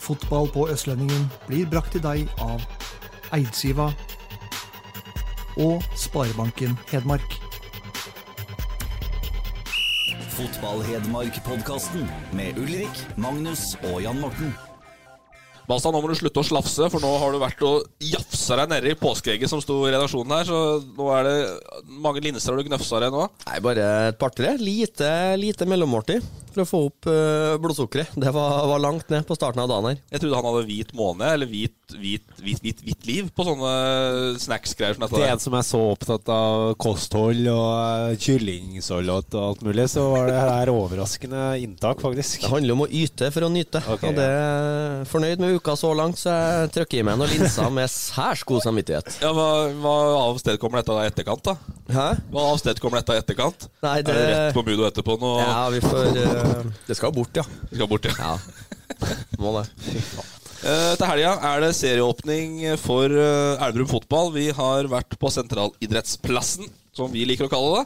Fotball på Østlendingen blir brakt til deg av Eidsiva og Sparebanken Hedmark. Fotball-Hedmark-podkasten med Ulrik, Magnus og Jan Morten. Basta, nå må du slutte å slafse, for nå har du vært og jafsa deg nedi påskeegget som sto i redaksjonen her, så nå er det mange linser har du gnøfsa deg nå. Nei, bare et par-tre. Lite, lite mellommåltid for å få opp eh, blodsukkeret. Det var, var langt ned på starten av dagen her. Jeg trodde han hadde hvit måne, eller hvit, hvit, hvit, hvit, hvit liv på sånne snacks-greier som dette Det er der. en som er så opptatt av kosthold og eh, kyllingsalat og alt mulig, så var det her overraskende inntak, faktisk. Det handler om å yte for å nyte. Ok, og det er fornøyd med uka så langt, så jeg trykker i meg noen linser med særs god samvittighet. Ja, hva, hva avstedkommer dette da i etterkant, da? Hæ? Hva avstedkommer dette i etterkant? Nei, det- Er det rett på Mudo etterpå nå? Ja, vi får eh, Det skal bort, ja. Skal bort, ja. Ja, må det. Eh, til helga er det serieåpning for eh, Elverum fotball. Vi har vært på Sentralidrettsplassen, som vi liker å kalle det,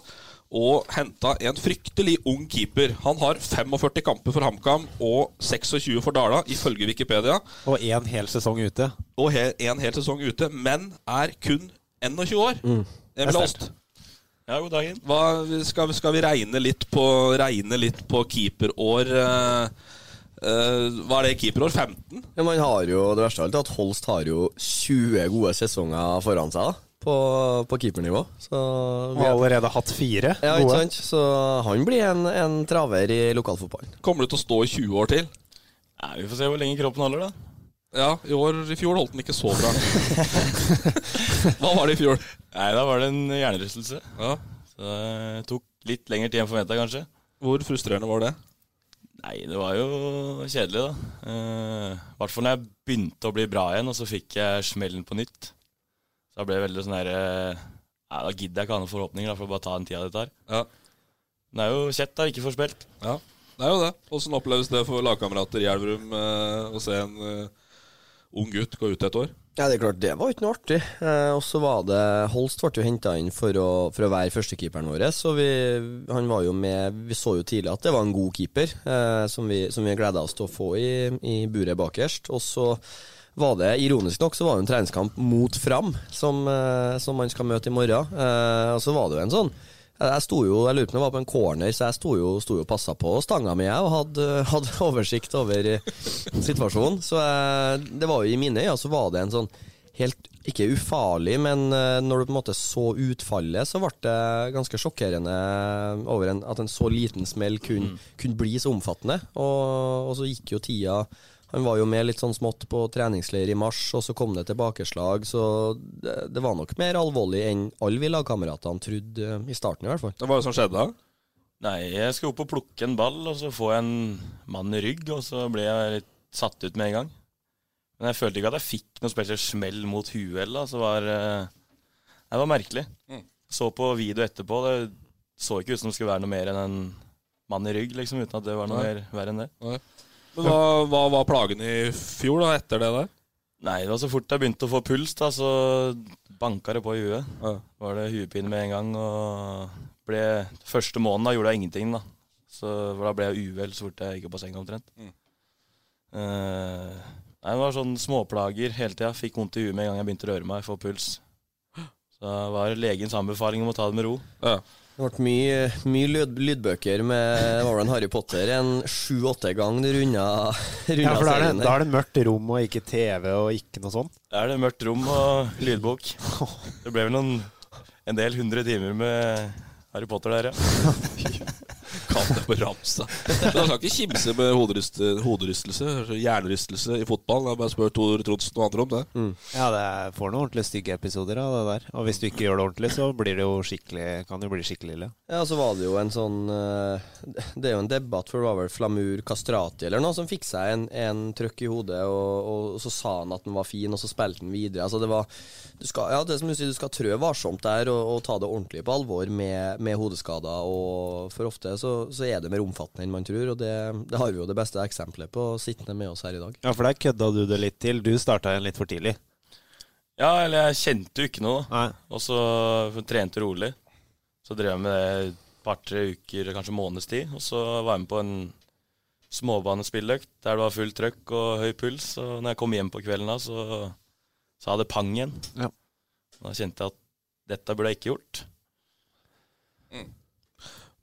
og henta en fryktelig ung keeper. Han har 45 kamper for HamKam og 26 for Dala, ifølge Wikipedia. Og én hel sesong ute. Og he en hel sesong ute, men er kun 21 år. Mm. Emil Aast, Ja, god dagen. hva- skal, skal vi regne litt på, regne litt på keeperår? eh, eh, hva er det, keeperår 15? Ja, man har jo, det verste av alt er at Holst har jo 20 gode sesonger foran seg da, på, på keepernivå. Så Vi vi har er, allerede hatt fire ja, ikke gode. sant? Så han blir en, en traver i lokalfotballen. Kommer du til å stå i 20 år til? Nei, vi får se hvor lenge kroppen holder, da. Ja, i år, i fjor holdt den ikke så bra. Hva var det i fjor? Nei, da var det en hjernerystelse. Ja. Så det tok litt lengre tid enn forventa, kanskje. Hvor frustrerende var det? Nei, det var jo kjedelig, da. Eh, I hvert fall når jeg begynte å bli bra igjen, og så fikk jeg smellen på nytt. Så jeg ble veldig sånn her eh, Nei, da gidder jeg ikke ha noen forhåpninger, da får jeg bare ta den tida det tar. Ja. Men det er jo kjett, da. Ikke får spilt. ja. Det er jo det. Åssen oppleves det for lagkamerater i Elverum eh, å se en eh, ung gutt gå ut et år? Ja, det er klart, det var ikke noe artig. Eh, og så var det Holst ble jo henta inn for å, for å være førstekeeperen vår, så vi, han var jo med Vi så jo tidlig at det var en god keeper, eh, som vi, som vi gleda oss til å få i, i buret bakerst. Og så var det, ironisk nok, så var det en treningskamp mot Fram, som, eh, som man skal møte i morgen. Eh, og så var det jo en sånn jeg jeg sto jo, jeg lurer på om det var på en corner, så jeg sto jo, sto jo og passa på stanga mi jeg, og hadde, hadde oversikt over eh, situasjonen. Så jeg, det var jo i mine øyne så var det en sånn helt ikke ufarlig, men eh, når du på en måte så utfallet, så ble det ganske sjokkerende over en, at en så liten smell kunne, kunne bli så omfattende. Og, og så gikk jo tida Han var jo med litt sånn smått på treningsleir i mars, og så kom det tilbakeslag, så det, det var nok mer alvorlig enn alle vi lagkameratene trodde eh, i starten, i hvert fall. Det var jo som skjedde da. Nei, jeg skal opp og plukke en ball, og så få en mann i rygg, og så ble jeg litt satt ut med en gang. Men jeg følte ikke at jeg fikk noe spesielt smell mot huet eller da, så det var eh, Det var merkelig. Så på video etterpå, det så ikke ut som det skulle være noe mer enn en mann i rygg, liksom, uten at det var noe Nei. mer verre enn det. Men hva, hva var plagen i fjor, da, etter det der? Nei, det var så fort jeg begynte å få puls, da, så banka det på i huet. Var det huepine med en gang, og ble Første måneden da gjorde jeg ingenting, da. Så for da ble jeg uvel så fort jeg gikk opp av senga, omtrent. Eh, nei, det var sånn småplager hele tida. Fikk vondt i huet med en gang jeg begynte å røre meg, få puls. Så da var legens anbefaling om å ta det med ro. Ja. Det ble mye, mye lyd, lydbøker med det var vel en Harry Potter en sju-åtte gang du runda, runda Ja, for da er, serien det, der. da er det mørkt rom og ikke TV og ikke noe sånt. Da er det mørkt rom og lydbok. Det ble vel noen, en del hundre timer med Harry Potter der, ja. kalte det for ramse. Så Man skal ikke kimse med hoderyst, hoderystelse, hjernerystelse i fotball. Jeg bare spør Tor Trondsen og andre om Mm. det. Ja, det er- får noen ordentlig stygge episoder av det der. Og hvis du ikke gjør det ordentlig, så blir det jo skikkelig, kan det jo bli skikkelig ille. Ja, så var det jo en sånn eh, Det er jo en debatt for det var vel Flamur Kastrati eller noe som fikk seg en, en trøkk i hodet, og, og så sa han at den var fin, og så spilte han videre. Altså det var du skal, Ja, det er som du sier, du skal trø varsomt der og, og ta det ordentlig på alvor med, med hodeskader, og for ofte så, så er det mer omfattende enn man tror, og det, det har vi jo det beste eksempelet på sittende med oss her i dag. Ja, for der kødda du det litt til. Du starta igjen litt for tidlig. Ja, eller jeg kjente jo ikke noe. da. Nei. Og så trente rolig. Så drev jeg med det et par-tre uker, kanskje måneds tid. Og så var jeg med på en småbanespilløkt der det var fullt trøkk og høy puls. Og når jeg kom hjem på kvelden da, så, så hadde det pang igjen. Ja. Da kjente jeg at dette burde jeg ikke gjort.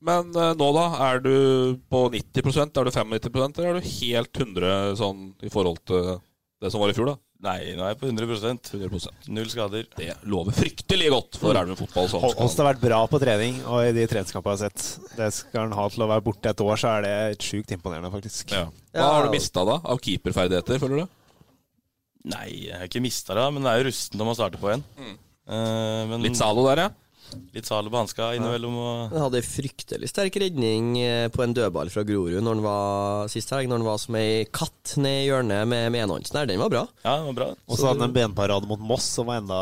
Men eh, nå, da? Er du på 90 Er du 95 eller er du helt 100 sånn i forhold til det som var i fjor, da? Nei, nå er jeg på 100 100 Null skader. Det lover fryktelig godt for Elverum fotball. Sånn. Holst har vært bra på trening, og i de treningskampene jeg har sett Det skal han ha til å være borte et år, så er det sjukt imponerende, faktisk. Ja. Hva har du mista da av keeperferdigheter, føler du? Nei, jeg har ikke mista det, men det er jo rusten når man starter på en. Eh, men Litt Zalo der, ja. litt sale på hanska innimellom. Og... Han hadde en fryktelig sterk redning eh, på en dødball fra Grorud når han var, sist helg, når han var som ei katt ned i hjørnet med, med enhåndsen der. Den var bra. Ja, det var bra. Og så hadde han en benparade mot Moss som var enda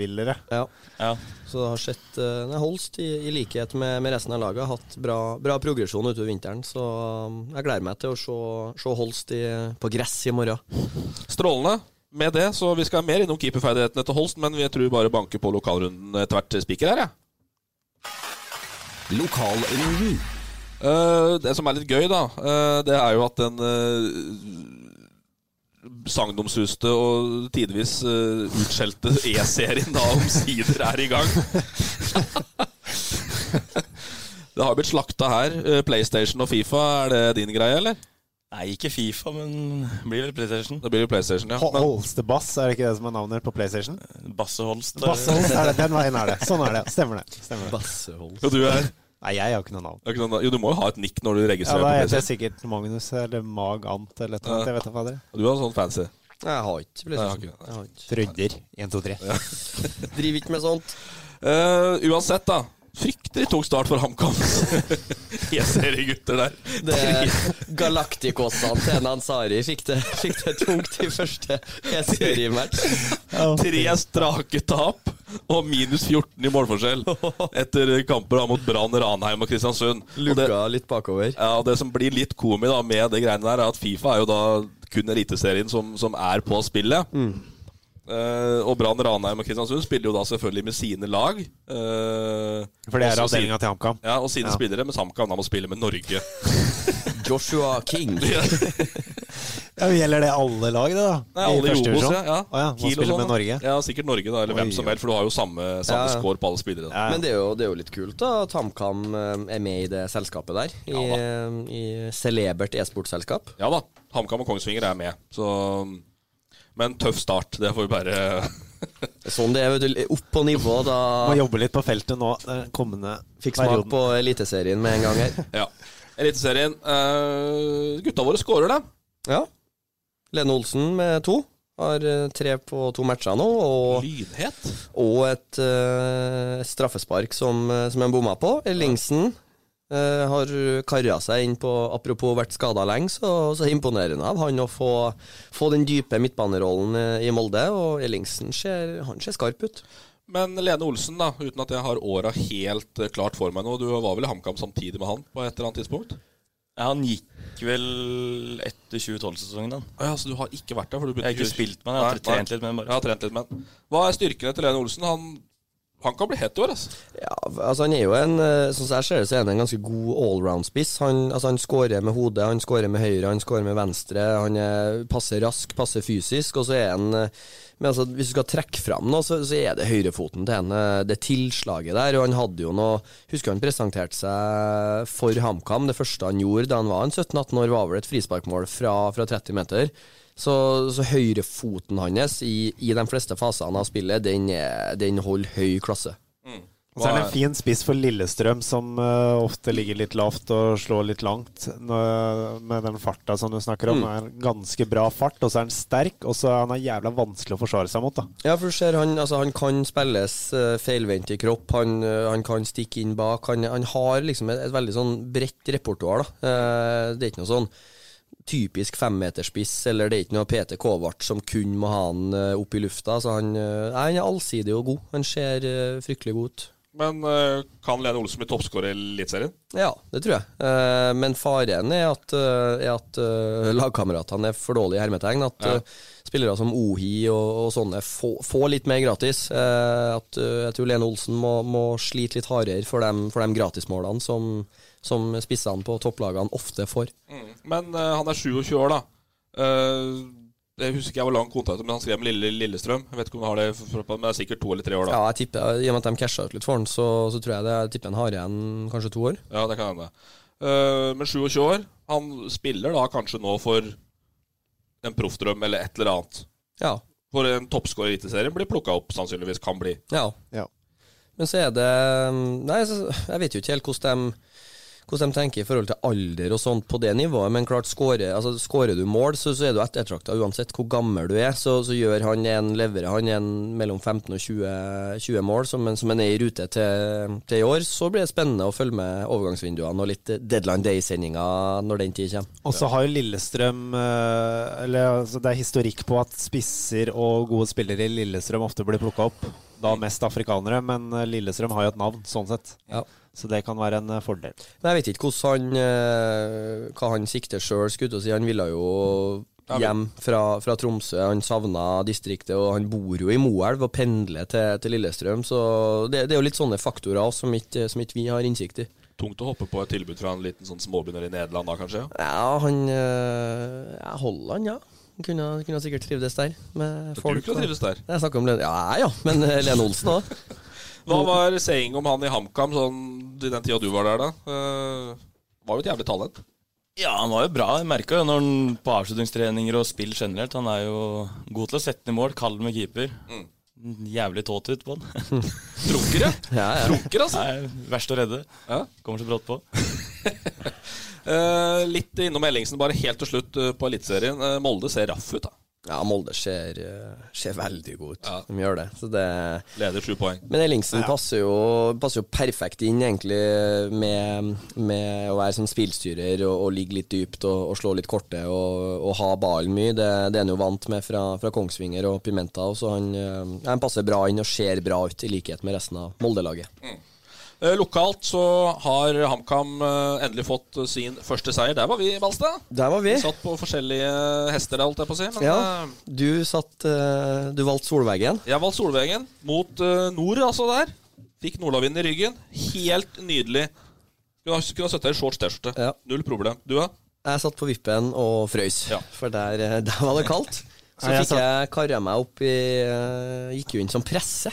villere. Ja. Ja. Så det har sett eh, nei, Holst, i, i likhet med, med resten av laget, har hatt bra, bra progresjon utover vinteren. Så um, jeg gleder meg til å se, se Holst i, på gress i morgen. Strålende. Med det, så vi skal mer innom keeperferdighetene til Holst, men vi tror bare banker på lokalrunden etter hvert spiker her, jeg. Lokalrunden. Eh, det som er litt gøy, da, eh, det er jo at den eh, sagnomsuste og tidvis eh, utskjelte E-serien da omsider er i gang. det har blitt slakta her. Eh, PlayStation og Fifa, er det din greie, eller? Nei, ikke Fifa, men blir vel PlayStation. Det blir jo PlayStation, ja. Hol- Men Holste Bass, er det ikke det som er navnet på PlayStation? Basse Holst. er- Bass Holst, er det den veien er det. Sånn er det. Stemmer det. Stemmer det. jo, du er, Nei, jeg har ikke noe navn. det er ikke noe- jo, du må jo ha et nikk når du Ja, registrerer da på heter jeg PlayStation. sikkert Magnus eller Mag Ant eller et eller annet. Jeg vet da fader. Du er sånn fancy. Jeg har ikke PlayStation. Nei, jeg har ikke. Jeg har ikke. Trudder. 1, 2, 3. Driver ikke med sånt. Eh, uansett, da. Fryktelig tung start for HamKam. E-seriegutter der. Det Galaktikåsene til Nansari fikk det, fikk det tungt i første seriematch. Tre strake tap og minus 14 i målforskjell etter kamper da mot Brann, Ranheim og Kristiansund. Og det, Lugga litt bakover. ja, og det som blir litt komi da med det greiene der, er at Fifa er jo da kun Eliteserien som, som er på spillet. Mm. Eh, og Brann, Ranheim og Kristiansund spiller jo da selvfølgelig med sine lag. Eh, For det er og så- avdelinga til HamKam. Ja, og sine spillere, mens HamKam da må spille med Norge. Joshua King. Ja, Gjelder det alle lag, det, da? Nei, alle i første Obos, divisjon? ja. ja. Å ja. Man Kiel og spiller sånn, med da. Norge. Ja, Sikkert Norge, da, eller hvem som helst, for du har jo samme, samme Ja, ja. score på alle spillere. Da. Ja. Men det er, jo, det er jo litt kult da at HamKam eh, er med i det selskapet der. I, eh, i celebert e-sportselskap. Ja da, HamKam og Kongsvinger er med. Så, men tøff start, det får vi bare Det er Sånn det er, vet du. Opp på nivå da. Må jobbe litt på feltet nå den kommende Fikk smak perioden. på Eliteserien med en gang her. Ja. Eliteserien. eh, gutta våre scorer, da. Ja. Lene Olsen med to. Har eh, tre på to matcher nå, og, Lynhet. og et eh, straffespark som, eh, som en bomma på. Ellingsen eh, har karra seg inn på Apropos vært skada lenge, så, så imponerende av han å få, få den dype midtbanerollen eh, i Molde. Og Ellingsen ser, han ser skarp ut. Men Lene Olsen, da, uten at jeg har åra helt eh, klart for meg nå. Du var vel i HamKam samtidig med han på et eller annet tidspunkt? Ja, han gikk vel etter 2012-sesongen, han. Ja, Så du har ikke vært der? For du Jeg har ikke spilt med han, jeg har trent litt med han bare. Jeg har trent litt med han. Hva er styrkene til Lene Olsen? Han, han kan bli het i år, altså. Ja, altså han er jo en eh, Sånn som jeg ser det, så er han en ganske god allround-spiss. Han, altså han skårer med hodet, han skårer med høyre, han skårer med venstre. Han er, passer rask, passer fysisk, og så er han eh, Men altså, hvis du skal trekke fram noe, så, så er det høyrefoten til henne. Det tilslaget der, og han hadde jo noe Husker han presenterte seg for HamKam. Det første han gjorde da han var en 17-18 år, var vel et frisparkmål fra, fra 30 meter. Så, så høyrefoten hans i, i de fleste fasene av spillet, den, er- den holder høy klasse. Og så er det en fin spiss for Lillestrøm, som eh, ofte ligger litt lavt og slår litt langt. Nå- med den farta som du snakker om, Mm. er ganske bra fart, og så er han sterk, og så er han jævla vanskelig å forsvare seg mot, da. Ja, for du ser han, altså, han kan spilles uh, feilvendt i kropp, han, eh, han kan stikke inn bak. Han, han har liksom et, et veldig sånn bredt repertoar. da. Eh, det er ikke noe sånn typisk femmeterspiss, eller det er ikke noe Peter Kovart som kun må ha han eh, opp i lufta. Så han, eh, nei, han er allsidig og god. Han ser eh, fryktelig god ut. Men eh, kan Lene Olsen bli toppskårer i Eliteserien? Ja, det tror jeg. Eh, men faren er at, eh, er at eh, lagkameratene er for dårlige i hermetegn. At eh, spillere som Ohi og, og sånne få- får litt mer gratis. Eh, at eh, Jeg tror Lene Olsen må, må slite litt hardere for de, for de gratismålene som, som spissene på topplagene ofte får. Men eh, han er 27 år, da. Eh, jeg husker ikke jeg hvor lang kontrakt, men han skrev med Lille Lillestrøm. Jeg vet ikke om han har det, for- for- men det er sikkert to eller tre år, da. Ja, jeg tipper, I og med at de casha ut litt for han, så, så tror jeg det jeg tipper han har igjen kanskje to år. Ja, det kan hende. Eh, men 27 år. Han spiller da kanskje nå for en proffdrøm eller et eller annet. Ja, For en toppskårer i Eliteserien blir plukka opp, sannsynligvis. Kan bli. ja. Ja. Men så er det mm, Nei, så, jeg vet jo ikke helt hvordan de, hvordan de tenker i forhold til alder og sånt på det nivået, men klart skårer altså, skårer du mål, så, så er du ettertrakta uansett hvor gammel du er. Så, så gjør han en, leverer han en mellom 15 og 20, 20 mål, som, en- som han er i rute til, til i år. Så blir det spennende å følge med overgangsvinduene og litt Deadline Day-sendinga når den tid kommer. Og så har jo Lillestrøm eh, Eller altså, det er historikk på at spisser og gode spillere i Lillestrøm ofte blir plukka opp. Da mest afrikanere, men eh, Lillestrøm har jo et navn, sånn sett. Ja. Så det kan være en eh, fordel. Men jeg vet ikke hvordan han, eh, hva han sikter sjøl, skulle jeg til å si. Han ville jo hjem fra, fra Tromsø. Han savna distriktet, og han bor jo i Moelv og pendler til, til Lillestrøm. Så det, det er jo litt sånne faktorer også som ikke, som ikke vi har innsikt i. Tungt å hoppe på et tilbud fra en liten sånn småbegynner i Nederland da, kanskje? Ja, han eh, ja, Holland, ja. Han Kunne, kunne sikkert trivdes der. Med Tror du ikke han trives der? Jeg snakker om Lene Ja ja, men eh, Lene Olsen òg. Hva var saying om han i HamKam sånn, i den tida du var der, da? Eh, var jo et jævlig talent. Ja, han var jo bra. Jeg merka jo når han på avslutningstreninger og spill generelt. Han er jo god til å sette den i mål, kald med keeper. Mm. Jævlig tåt ut på han. Trunker, ja. Ja, ja. Trunker, altså. Nei, verst å redde. Ja. Kommer så brått på. Eh, litt innom Ellingsen, bare helt til slutt eh, på Eliteserien. Eh, Molde ser raff ut, da. ja, Molde ser, eh, ser veldig god ut. Ja. De gjør det. Så det Leder sju poeng. Men Ellingsen passer, jo, passer jo perfekt inn egentlig med, med å være som spillstyrer og, og ligge litt dypt og, og slå litt korte og, og ha ballen mye. Det, det er han jo vant med fra, fra Kongsvinger og Pimenta. Og så han, eh, han passer bra inn og ser bra ut, i likhet med resten av Molde-laget. Eh, lokalt så har HamKam eh, endelig fått eh, sin første seier. Der var vi, Balstad. Der var vi. Vi satt på forskjellige hester, holdt jeg på å si. Men Ja, eh, du, satt, eh, du valgte Solveggen. Jeg valgte Solvegen mot eh, Nord, altså der. Fikk Nordavinden i ryggen. Helt nydelig. Kunne ha, kunne ha satt deg i shorts T-skjorte. Ja. Null problem. Du, da? Jeg satt på vippen og frøys, Ja. for der, eh, der var det kaldt. Så Nei, jeg fikk jeg karra meg opp i eh, Gikk jo inn som presse.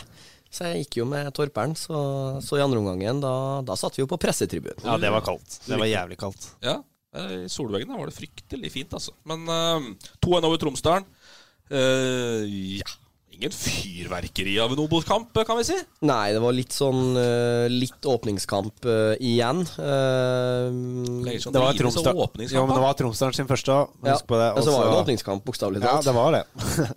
Så jeg gikk jo med torperen, så, så i andre omgangen, da, da satt vi jo på pressetribunen. Ja, det var kaldt. Det var jævlig kaldt. Ja. eh, I Solvegen der var det fryktelig fint, altså. Men eh, 2-1 over Tromsdalen. Eh, ja. Ingen fyrverkeri av en Obos-kamp, kan vi si. Nei, det var litt sånn eh, litt åpningskamp eh, igjen. Eh, Legger sånn Det var drivelse av Tromsdal jo, åpningskamp, men det da. var Tromsdalen sin første. ja. Husk på det. Men så var det en Også- åpningskamp, bokstavelig Ja, talt. det var det.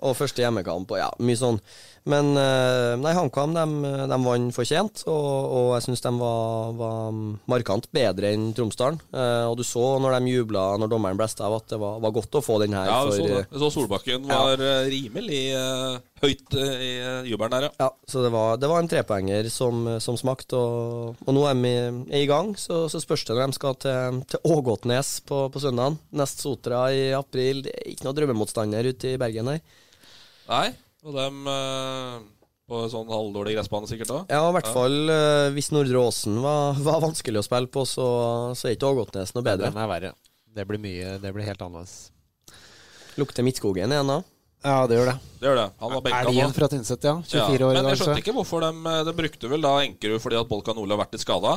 og første hjemmekamp og ja, mye sånn. Men eh, nei, HamKam de, de vant fortjent, og, og jeg syns de var, var markant bedre enn Tromsdalen. Eh, og du så når de jubla når dommeren blæsta av at det var, var godt å få den her. Ja, for, jeg så, det. eh, Jeg så Solbakken Ja. var eh, rimelig eh, høyt eh, i eh, jubelen der, ja. ja, så det var, det var en trepoenger som, som smakte, og, og nå er de i- er i gang. Så, så spørs det når de skal til, til Ågotnes på, på søndagen. Nest Sotra i april. Det er ikke noe drømmemotstander ute i Bergen her. Nei, og dem eh, på sånn halvdårlig gressbane sikkert da. Ja, i hvert fall eh, hvis Nordre Åsen var, var vanskelig å spille på, så, så er ikke Ågotnes noe bedre. Den er verre. Det blir mye Det blir helt annerledes. Lukter Midtskogen igjen da. Ja, det gjør det. Det gjør det. Han var benka Elgen nå. fra Tynset, ja. 24 år i Men dag. jeg så. skjønte ikke hvorfor de, de brukte vel da Enkerud fordi at Bolkan Ole har vært litt skada.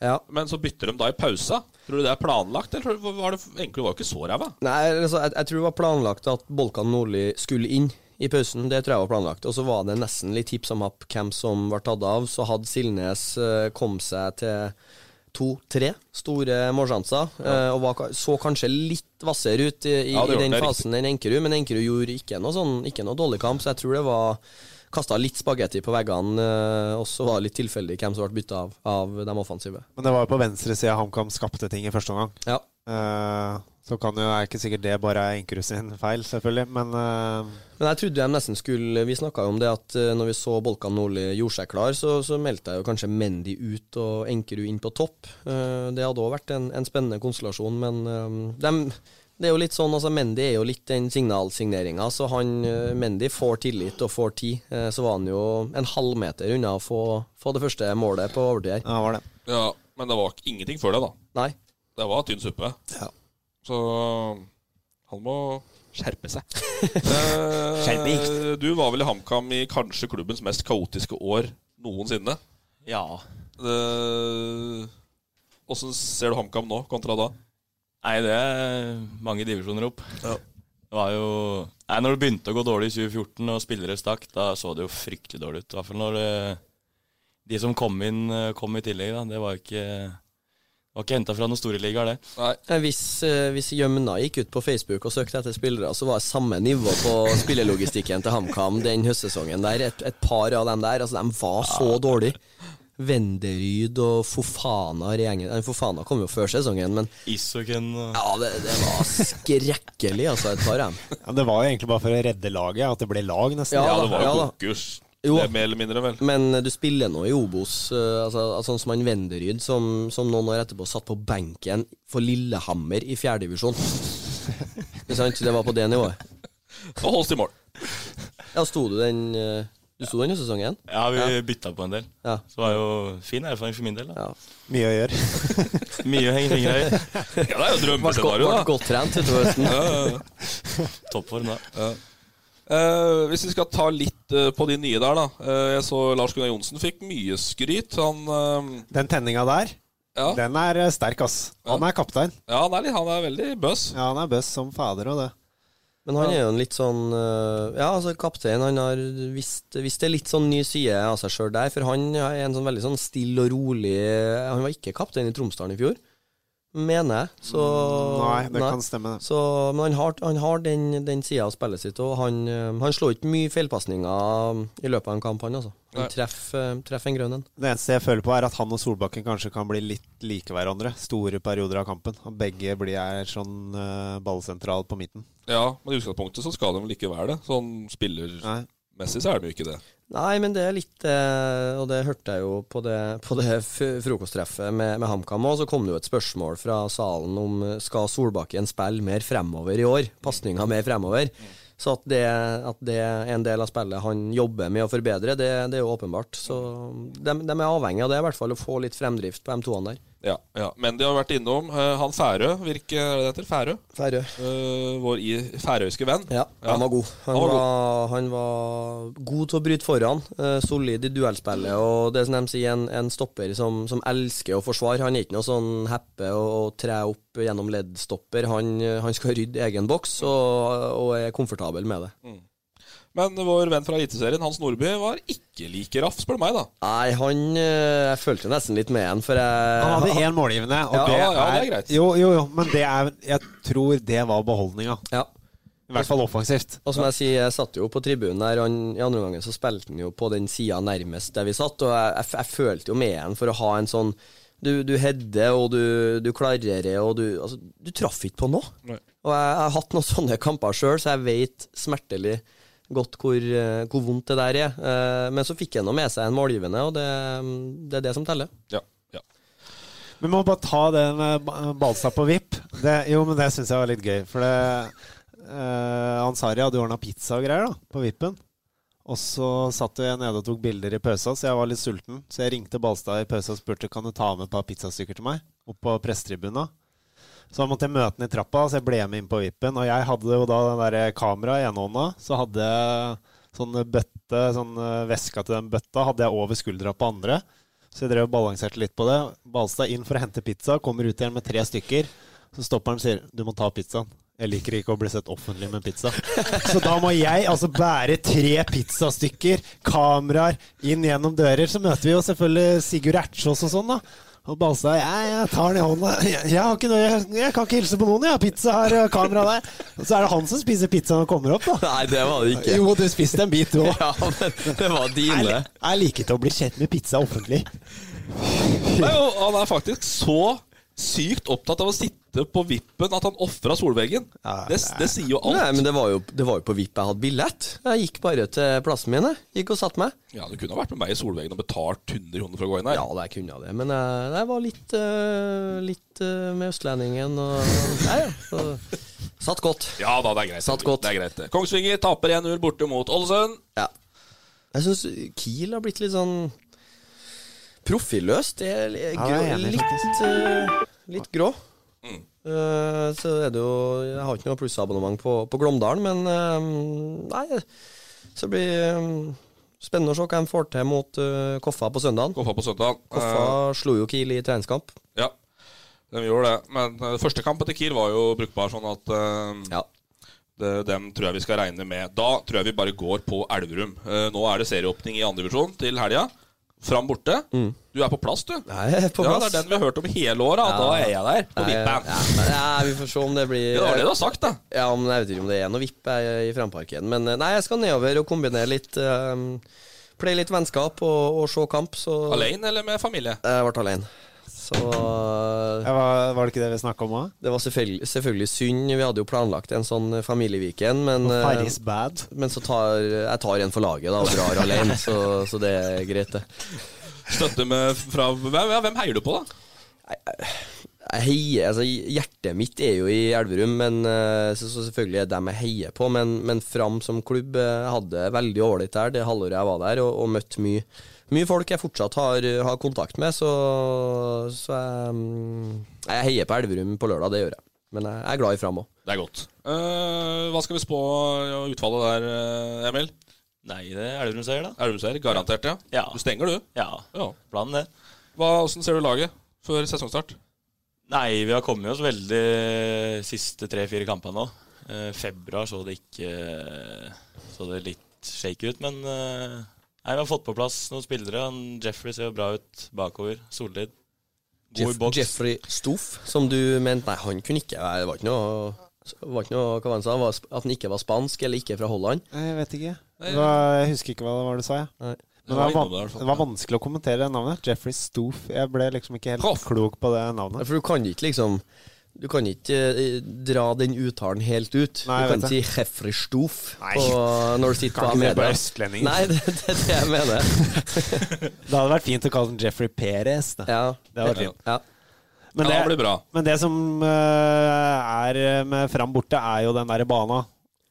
Ja. Men så bytter de da i pausa. Tror du det er planlagt, eller tror du- var det Enkerud var jo ikke så ræva? Nei, altså, jeg, jeg tror det var planlagt at Bolkan Nordli skulle inn i pausen. Det tror jeg var planlagt. Og så var det nesten litt hipp som happ hvem som ble tatt av. Så hadde Silnes eh, kom seg til to-tre store målsjanser, eh, og var, ka- så kanskje litt hvassere ut i, i, Ja, det i gjorde den det, riktig. fasen enn Enkerud, men Enkerud gjorde ikke noe, sånn, ikke noe dårlig kamp, så jeg tror det var Kasta litt spagetti på veggene, eh, og så var det litt tilfeldig hvem som ble bytta av, av de offensive. Men det var jo på venstresida HamKam skapte ting i første omgang. Ja. Eh, så kan jo, er ikke sikkert det bare er Enkerud sin feil, selvfølgelig, men eh, Men jeg trodde de nesten skulle Vi snakka jo om det at eh, når vi så Bolkan Nordli gjorde seg klar, så, så meldte jeg jo kanskje Mendy ut og Enkerud inn på topp. Eh, Det hadde òg vært en, en spennende konstellasjon, men eh, dem- det er jo litt sånn, altså Mendy er jo litt den signalsigneringa. Så han, eh, Mendy får tillit og får tid. Eh, Så var han jo en halvmeter unna å få, få det første målet på overtid her. ja, var det. Ja, Men det var ingenting før det, da. Nei. Det var tynn suppe. Ja. Så han må skjerpe seg. Eh, Du var vel i HamKam i kanskje klubbens mest kaotiske år noensinne. Ja. Åssen ser du HamKam nå kontra da? Nei, det er mange divisjoner opp. Det var jo Nei, når det begynte å gå dårlig i 2014 og spillere stakk, da så det jo fryktelig dårlig ut. I hvert fall når eh, de som kom inn, eh, kom i tillegg, da. Det var jo ikke Var ikke henta fra noen store ligaer, det. Nei, Eh, Hvis, eh, hvis Jømna gikk ut på Facebook og søkte etter spillere, så var det samme nivå på spillelogistikken til HamKam den høstsesongen der. Et, et par av dem der, altså de var så dårlige. Venderyd og Fofana i gjengen. Eh, Fofana kom jo før sesongen, men Isoken og ja, det, det var skrekkelig, altså, et par av dem. Ja, det var jo egentlig bare for å redde laget, at det ble lag, nesten. Ja, ja, da, det var jo ja da. konkurs. Jo. Det er mer eller mindre, vel. Men eh, du spiller nå i Obos, eh, altså, altså, sånn som han Venderyd, som, som noen år etterpå satt på benken for Lillehammer i fjerdedivisjon. Ikke sant? Det var på det nivået. Og holdt i mål. Ja, sto du den eh, Du sto den i sesongen? Ja, vi bytta på en del. Ja. Så det var jo fin erfaring for min del. da Ja. Mye å gjøre. Mye å henge fingra i. Ja, det er jo Ble godt, drømmescenario, ble da. godt trent utover høsten. Toppform, da. Eh, hvis vi skal ta litt eh, på de nye der, da. Eh, jeg så Lars Gunnar Johnsen fikk mye skryt. Han eh, Den tenninga der, Ja. den er eh, sterk, ass. Han er kaptein. Ja, han er, litt- han er veldig bøss. Ja, han er bøss som fader og det. Men han er jo en litt sånn eh, Ja, altså kaptein, han har visst, visst det er litt sånn ny side av seg sjøl der, for han er en sånn veldig sånn stille og rolig Han var ikke kaptein i Tromsdalen i fjor, mener jeg, så Mm, Nei, det kan stemme, det. Så, men han har, han har den, den sida av spillet sitt, og han, eh, han slår ikke mye feilpasninger i løpet av en kamp, han altså. Nei. Han treffer, eh, treffer en grønn en. Det eneste jeg føler på, er at han og Solbakken kanskje kan bli litt like hverandre store perioder av kampen. Og begge blir er sånn eh, ballsentral på midten. Ja, men i utgangspunktet så skal de vel ikke være det. Sånn Nei. spillermessig så er de jo ikke det. Nei, men det er litt eh, Og det hørte jeg jo på det, på det f- frokosttreffet med, med HamKam òg. Så kom det jo et spørsmål fra salen om eh, skal Solbakken spille mer fremover i år? Pasninga mer fremover? Så at det, at det er en del av spillet han jobber med å forbedre, det, det er jo åpenbart. Så de, de er avhengig av det, i hvert fall, å få litt fremdrift på de toene der. Ja, ja. Men de har vært innom eh, han Færø, virker er det det heter? Færø? Færø. Eh, vår i, færøyske venn. Ja, han var god. Han, Han var var, han var god til å bryte foran. eh, solid i duellspillet. Og det som de sier, en, en stopper som, som elsker å forsvare. Han er ikke noe sånn heppe og, og tre opp gjennom leddstopper. Han, eh, han skal rydde egen boks og, og er komfortabel med det. Men vår venn fra Eliteserien, Hans Nordby, var ikke like raff, spør du meg, da. Nei, han eh, Jeg følte nesten litt med Eh, han, for Han jeg hadde én målgivende, og Ja, det, ja, er, ja, det er greit. Jo, jo, jo, men det er Jeg tror det var beholdninga. ja. I hvert fall offensivt. Og som jeg sier, jeg satt jo på tribunen der, og han- i andre gangen så spilte han jo på den sida nærmest der vi satt, og jeg, jeg, f- jeg følte jo med han for å ha en sånn Du, du header, og du, du klarerer, og du Altså, du traff ikke på noe. Nei. Og jeg, jeg har hatt noen sånne kamper sjøl, så jeg vet smertelig godt hvor, eh, hvor vondt det der er. Eh, Men så fikk han nå med seg en målgivende, og det, det er det som teller. Ja. ja. Vi må bare ta den med ba- Balstad på VIP. Det, jo, men det syns jeg var litt gøy. For det eh, Ansari hadde jo ordna pizza og greier da, på VIP-en. Og så satt jo jeg nede og tok bilder i pausa, så jeg var litt sulten. Så jeg ringte Balstad i pausa og spurte kan du ta med et par pizzastykker til meg. Opp på pressetribunen. Så da måtte jeg møte han i trappa, så jeg ble med inn på VIP-en. Og jeg hadde jo da den der kameraet i ene hånda. Så hadde jeg sånn bøtte, sånn eh, veska til den bøtta, hadde jeg over skuldra på andre. Så jeg drev og balanserte litt på det. Balstad inn for å hente pizza, kommer ut igjen med tre stykker. Så stopper han og sier 'du må ta pizzaen'. Jeg liker ikke å bli sett offentlig med pizza. Så da må jeg altså bære tre pizzastykker, kameraer, inn gjennom dører. Så møter vi jo selvfølgelig Sigurd Ertsås og sånn, da. Og Balstad jeg, jeg tar den i hånda. Jeg, jeg, har ikke noe, jeg, jeg kan ikke hilse på noen, jeg har pizza her og kamera der. Og så er det han som spiser pizza når han kommer opp, da. Nei, det var det ikke. Jo, du spiste en bit, du òg. Ja, men det var Jeg, dine. li- jeg liker ikke å bli kjent med pizza offentlig. Nei, og han er faktisk så sykt opptatt av å sitte på vippen at han ofra solveggen. Ja, Det, det sier jo alt. Nei, men det var, jo, det var jo på vipp jeg hadde billett. Jeg gikk bare til plassen min. jeg. Gikk og satte meg. Ja, Du kunne ha vært med meg i solveggen og betalt 100 kroner for å gå inn her. Ja, det jeg kunne jeg det, men jeg, jeg var litt, eh, litt eh, med østlendingen og Nei, ja. Så, satt godt. Ja da, det er greit. Satt godt. Det er greit. det. Kongsvinger taper 1-0 borte mot Ålesund. Ja. Jeg syns Kiel har blitt litt sånn profilløst. Det er li- Ja, det er jeg grå, enig i, litt, eh, litt grå. Eh, så er det jo Jeg har ikke noe plussabonnement på, på Glåmdalen, men eh, nei, så blir det eh, spennende å se hva de får til mot eh, Koffa på søndag. Koffa på søndag. Koffa slo jo Kiel i treningskamp. Eh, ja, de gjorde det. Men eh, første kamp etter Kiel var jo brukbar, sånn at eh, Ja. det, dem tror jeg vi skal regne med. Da tror jeg vi bare går på Elverum. Eh, nå er det serieåpning i andre divisjon til helga. Fram borte. Mm. Du er på plass, du. Nei, på Ja, plass. det er den vi har hørt om i hele året. at Da er jeg der, på Nei, vippen. Ja, men, ja, vi får se om det blir Det var det du har sagt, da. Ja, men Jeg vet ikke om det er noe vipp jeg, i Framparken. Men eh, nei, jeg skal nedover og kombinere litt um, Play litt vennskap og, og se kamp, så Alene eller med familie? Jeg ble alene. Så eh, Ja, Var, var det ikke det vi snakka om òg? det var selvfølgelig, selvfølgelig synd. Vi hadde jo planlagt en sånn familieviken, men eh, Paris bad. men så tar jeg tar en for laget da og drar alene, så, så det er greit, det. Støtte med fra Hvem, ja, hvem heier du på, da? jeg heier, altså Hjertet mitt er jo i Elverum, men eh, så, så selvfølgelig er det dem jeg heier på. Men, men Fram som klubb eh, jeg hadde det veldig ålreit der det halvåret jeg var der, og, og møtt mye, mye folk jeg fortsatt har, har kontakt med. Så, så jeg, mm, jeg heier på Elverum på lørdag, det gjør jeg. Men jeg, jeg er glad i Fram òg. Det er godt. Eh, hva skal vi spå ja, utfallet der, eh, Emil? Nei, det er Elverum seier, da. Elveseier? Garantert, ja. Ja. Du stenger, du. Ja, Ja. planen det. Hva, hvordan ser du laget før sesongstart? Nei, vi har kommet oss veldig siste tre-fire kampene nå. Eh, februar så det ikke eh, Så det litt shake ut, men eh, nei, vi har fått på plass noen spillere. Han Jeffrey ser jo bra ut bakover. Solid. God i Jeff, boks. Jeffrey Stoff, som du mente Nei, han kunne ikke være- Det var ikke noe, var ikke noe hva var det han sa? Var sp- At han ikke var spansk, eller ikke fra Holland. Jeg vet ikke. Det var, jeg husker ikke hva det var du sa, jeg. Nei. Men det, var innom van, det, i hvert fall. det var vanskelig å kommentere det navnet. Jeffrey Stoof. Jeg ble liksom ikke helt Hoff. klok på det Ja, navnet. For du kan ikke liksom Du kan ikke eh, dra den uttalen helt ut. Nei, jeg du kan vet si 'hefrestof' Nei. på- når du sitter på Kan ikke det på Amedia. østlending. Nei, det det er det jeg mener. Det hadde vært fint å kalle den Jeffrey Perez. Da. Ja. Det hadde vært fint. Ja. Men ja, det det, blir bra. men det som eh, er eh, med Fram borte, er jo den derre bana.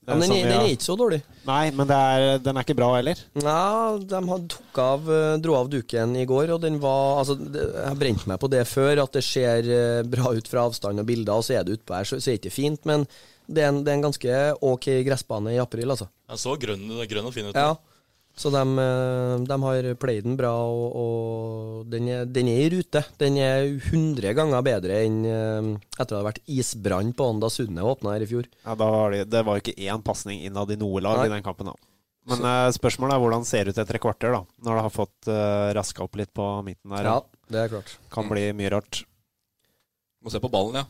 Det Men den, som er- vi den har- er ikke så dårlig. Nei, men det er, den er ikke bra heller. Ja, de hadde tok av, eh, dro av duken i går, og den var altså, det, Jeg brente meg på det før, at det ser eh, bra ut fra avstand og bilder, og så er det utpå her, så så er det ikke fint, men det er en, det er en ganske ok gressbane i april, altså. Han så grønn, grønn og fin ut. nå. Ja. Så de, eh, de har played den bra, og, og den, er, den er i rute. Den er 100 ganger bedre enn eh, etter at det hadde vært isbrann på den da Sunne åpna her i fjor. Ja, da var det, det var jo ikke én pasning innad i noe lag Nei. i den kampen. da. Men eh, spørsmålet er hvordan det ser ut etter et kvarter, da. Når det har fått uh, raska opp litt på midten her. Ja, og det er klart. Kan bli mye rart. Må se på ballen, ja.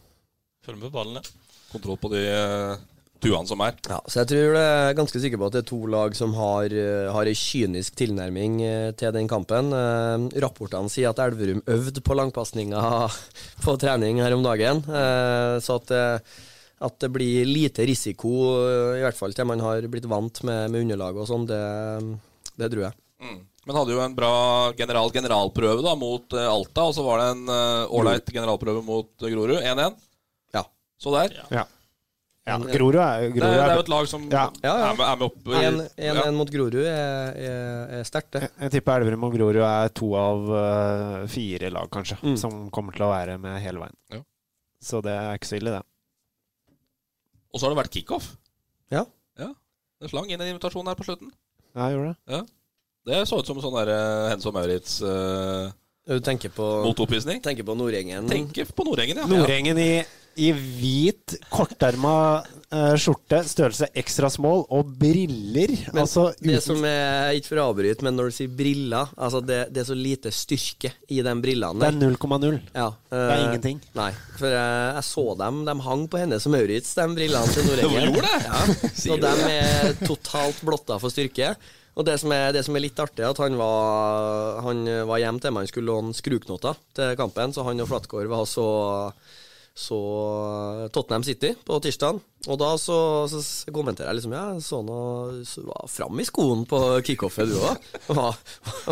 Følg med på ballen, ja. Kontroll på de eh, tuene som er. Ja, så jeg tror det jeg er ganske sikker på at det er to lag som har, eh, har ei kynisk tilnærming eh, til den kampen. Eh, Rapportene sier at Elverum øvde på langpasninger på trening her om dagen. eh, Så at, eh, at det blir lite risiko, eh, i hvert fall til man har blitt vant med, med underlag og sånn, det, det tror jeg. Mm. Men hadde jo en bra general generalprøve da, mot eh, Alta, og så var det en eh, ålreit generalprøve mot eh, Grorud. 1-1. Ja. Så der. Ja. ja. Grorud er, Det, er- Grorud det er er jo et lag som Ja. Ja, ja. Er, med, er med opp i- 1-1 ja. mot Grorud er, er, er sterkt, det. Jeg- Jeg tipper Elverum og Grorud er to av eh, fire lag, kanskje, Mm. som kommer til å være med hele veien. Ja. Så det er ikke så ille, det. Og så har det vært kickoff. Ja. ja. Det slang inn en invitasjon her på slutten. Ja, jeg gjorde det. Det så ut som en sånn der, eh, Hennes og Maurits eh, Du tenker på, motoppvisning. tenker på Nordgjengen. Tenker på Nordengen, ja. Nordengen i I hvit, korterma eh, skjorte, størrelse ekstra small, og briller. Men altså det uten som er Ikke for å avbryte, men når du sier briller altså det, det er så lite styrke i de brillene. Det der. er 0,0. Ja, Det er eh, ingenting. Nei, for jeg, jeg så dem. De hang på henne som Maurits, de brillene til Nordengen. Gjorde det? Ja, så de er totalt blotta for styrke. Og det som er, det som er litt artig, er at han var, han var hjemme til meg, han skulle låne skruknoter til kampen, så han og Flatgård var så så eh, Tottenham City på tirsdag, og da så, så s- kommenterer jeg liksom Ja, så noe så var fram i skoen på kickoffet, du òg. Var,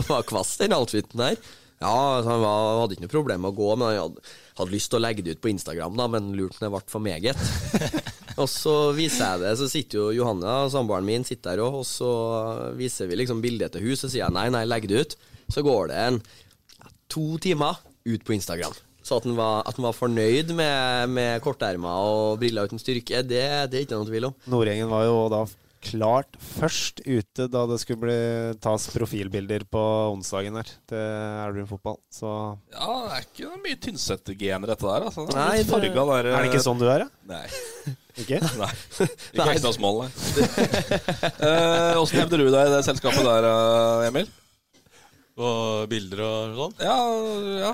var kvass, den outfiten der. Ja, altså, han var, hadde ikke noe problem med å gå, men han hadde, hadde lyst til å legge det ut på Instagram, da, men lurte om det ble for meget. Og så viser jeg det, så sitter jo Johanna, samboeren min, sitter der òg, og så viser vi liksom bildet til hus, så sier jeg nei, nei, legg det ut. Så går det en to timer ut på Instagram. Så at han var, at han var fornøyd med, med kortermer og briller uten styrke, det, det er ikke noe tvil om. Nordengen var jo da klart først ute da det skulle bli, tas profilbilder på onsdagen her til Elverum fotball. Så Ja, det er ikke noe mye Tynset-gener, dette der. Altså. Nei, Litt det- farga der, er det ikke sånn du er, da? Nei. Ikke? Nei. Ikke Hemsedalsmål, nei. Eh, Åssen hevder du deg i det selskapet der, eh, Emil? Og bilder og sånn. Ja, ja.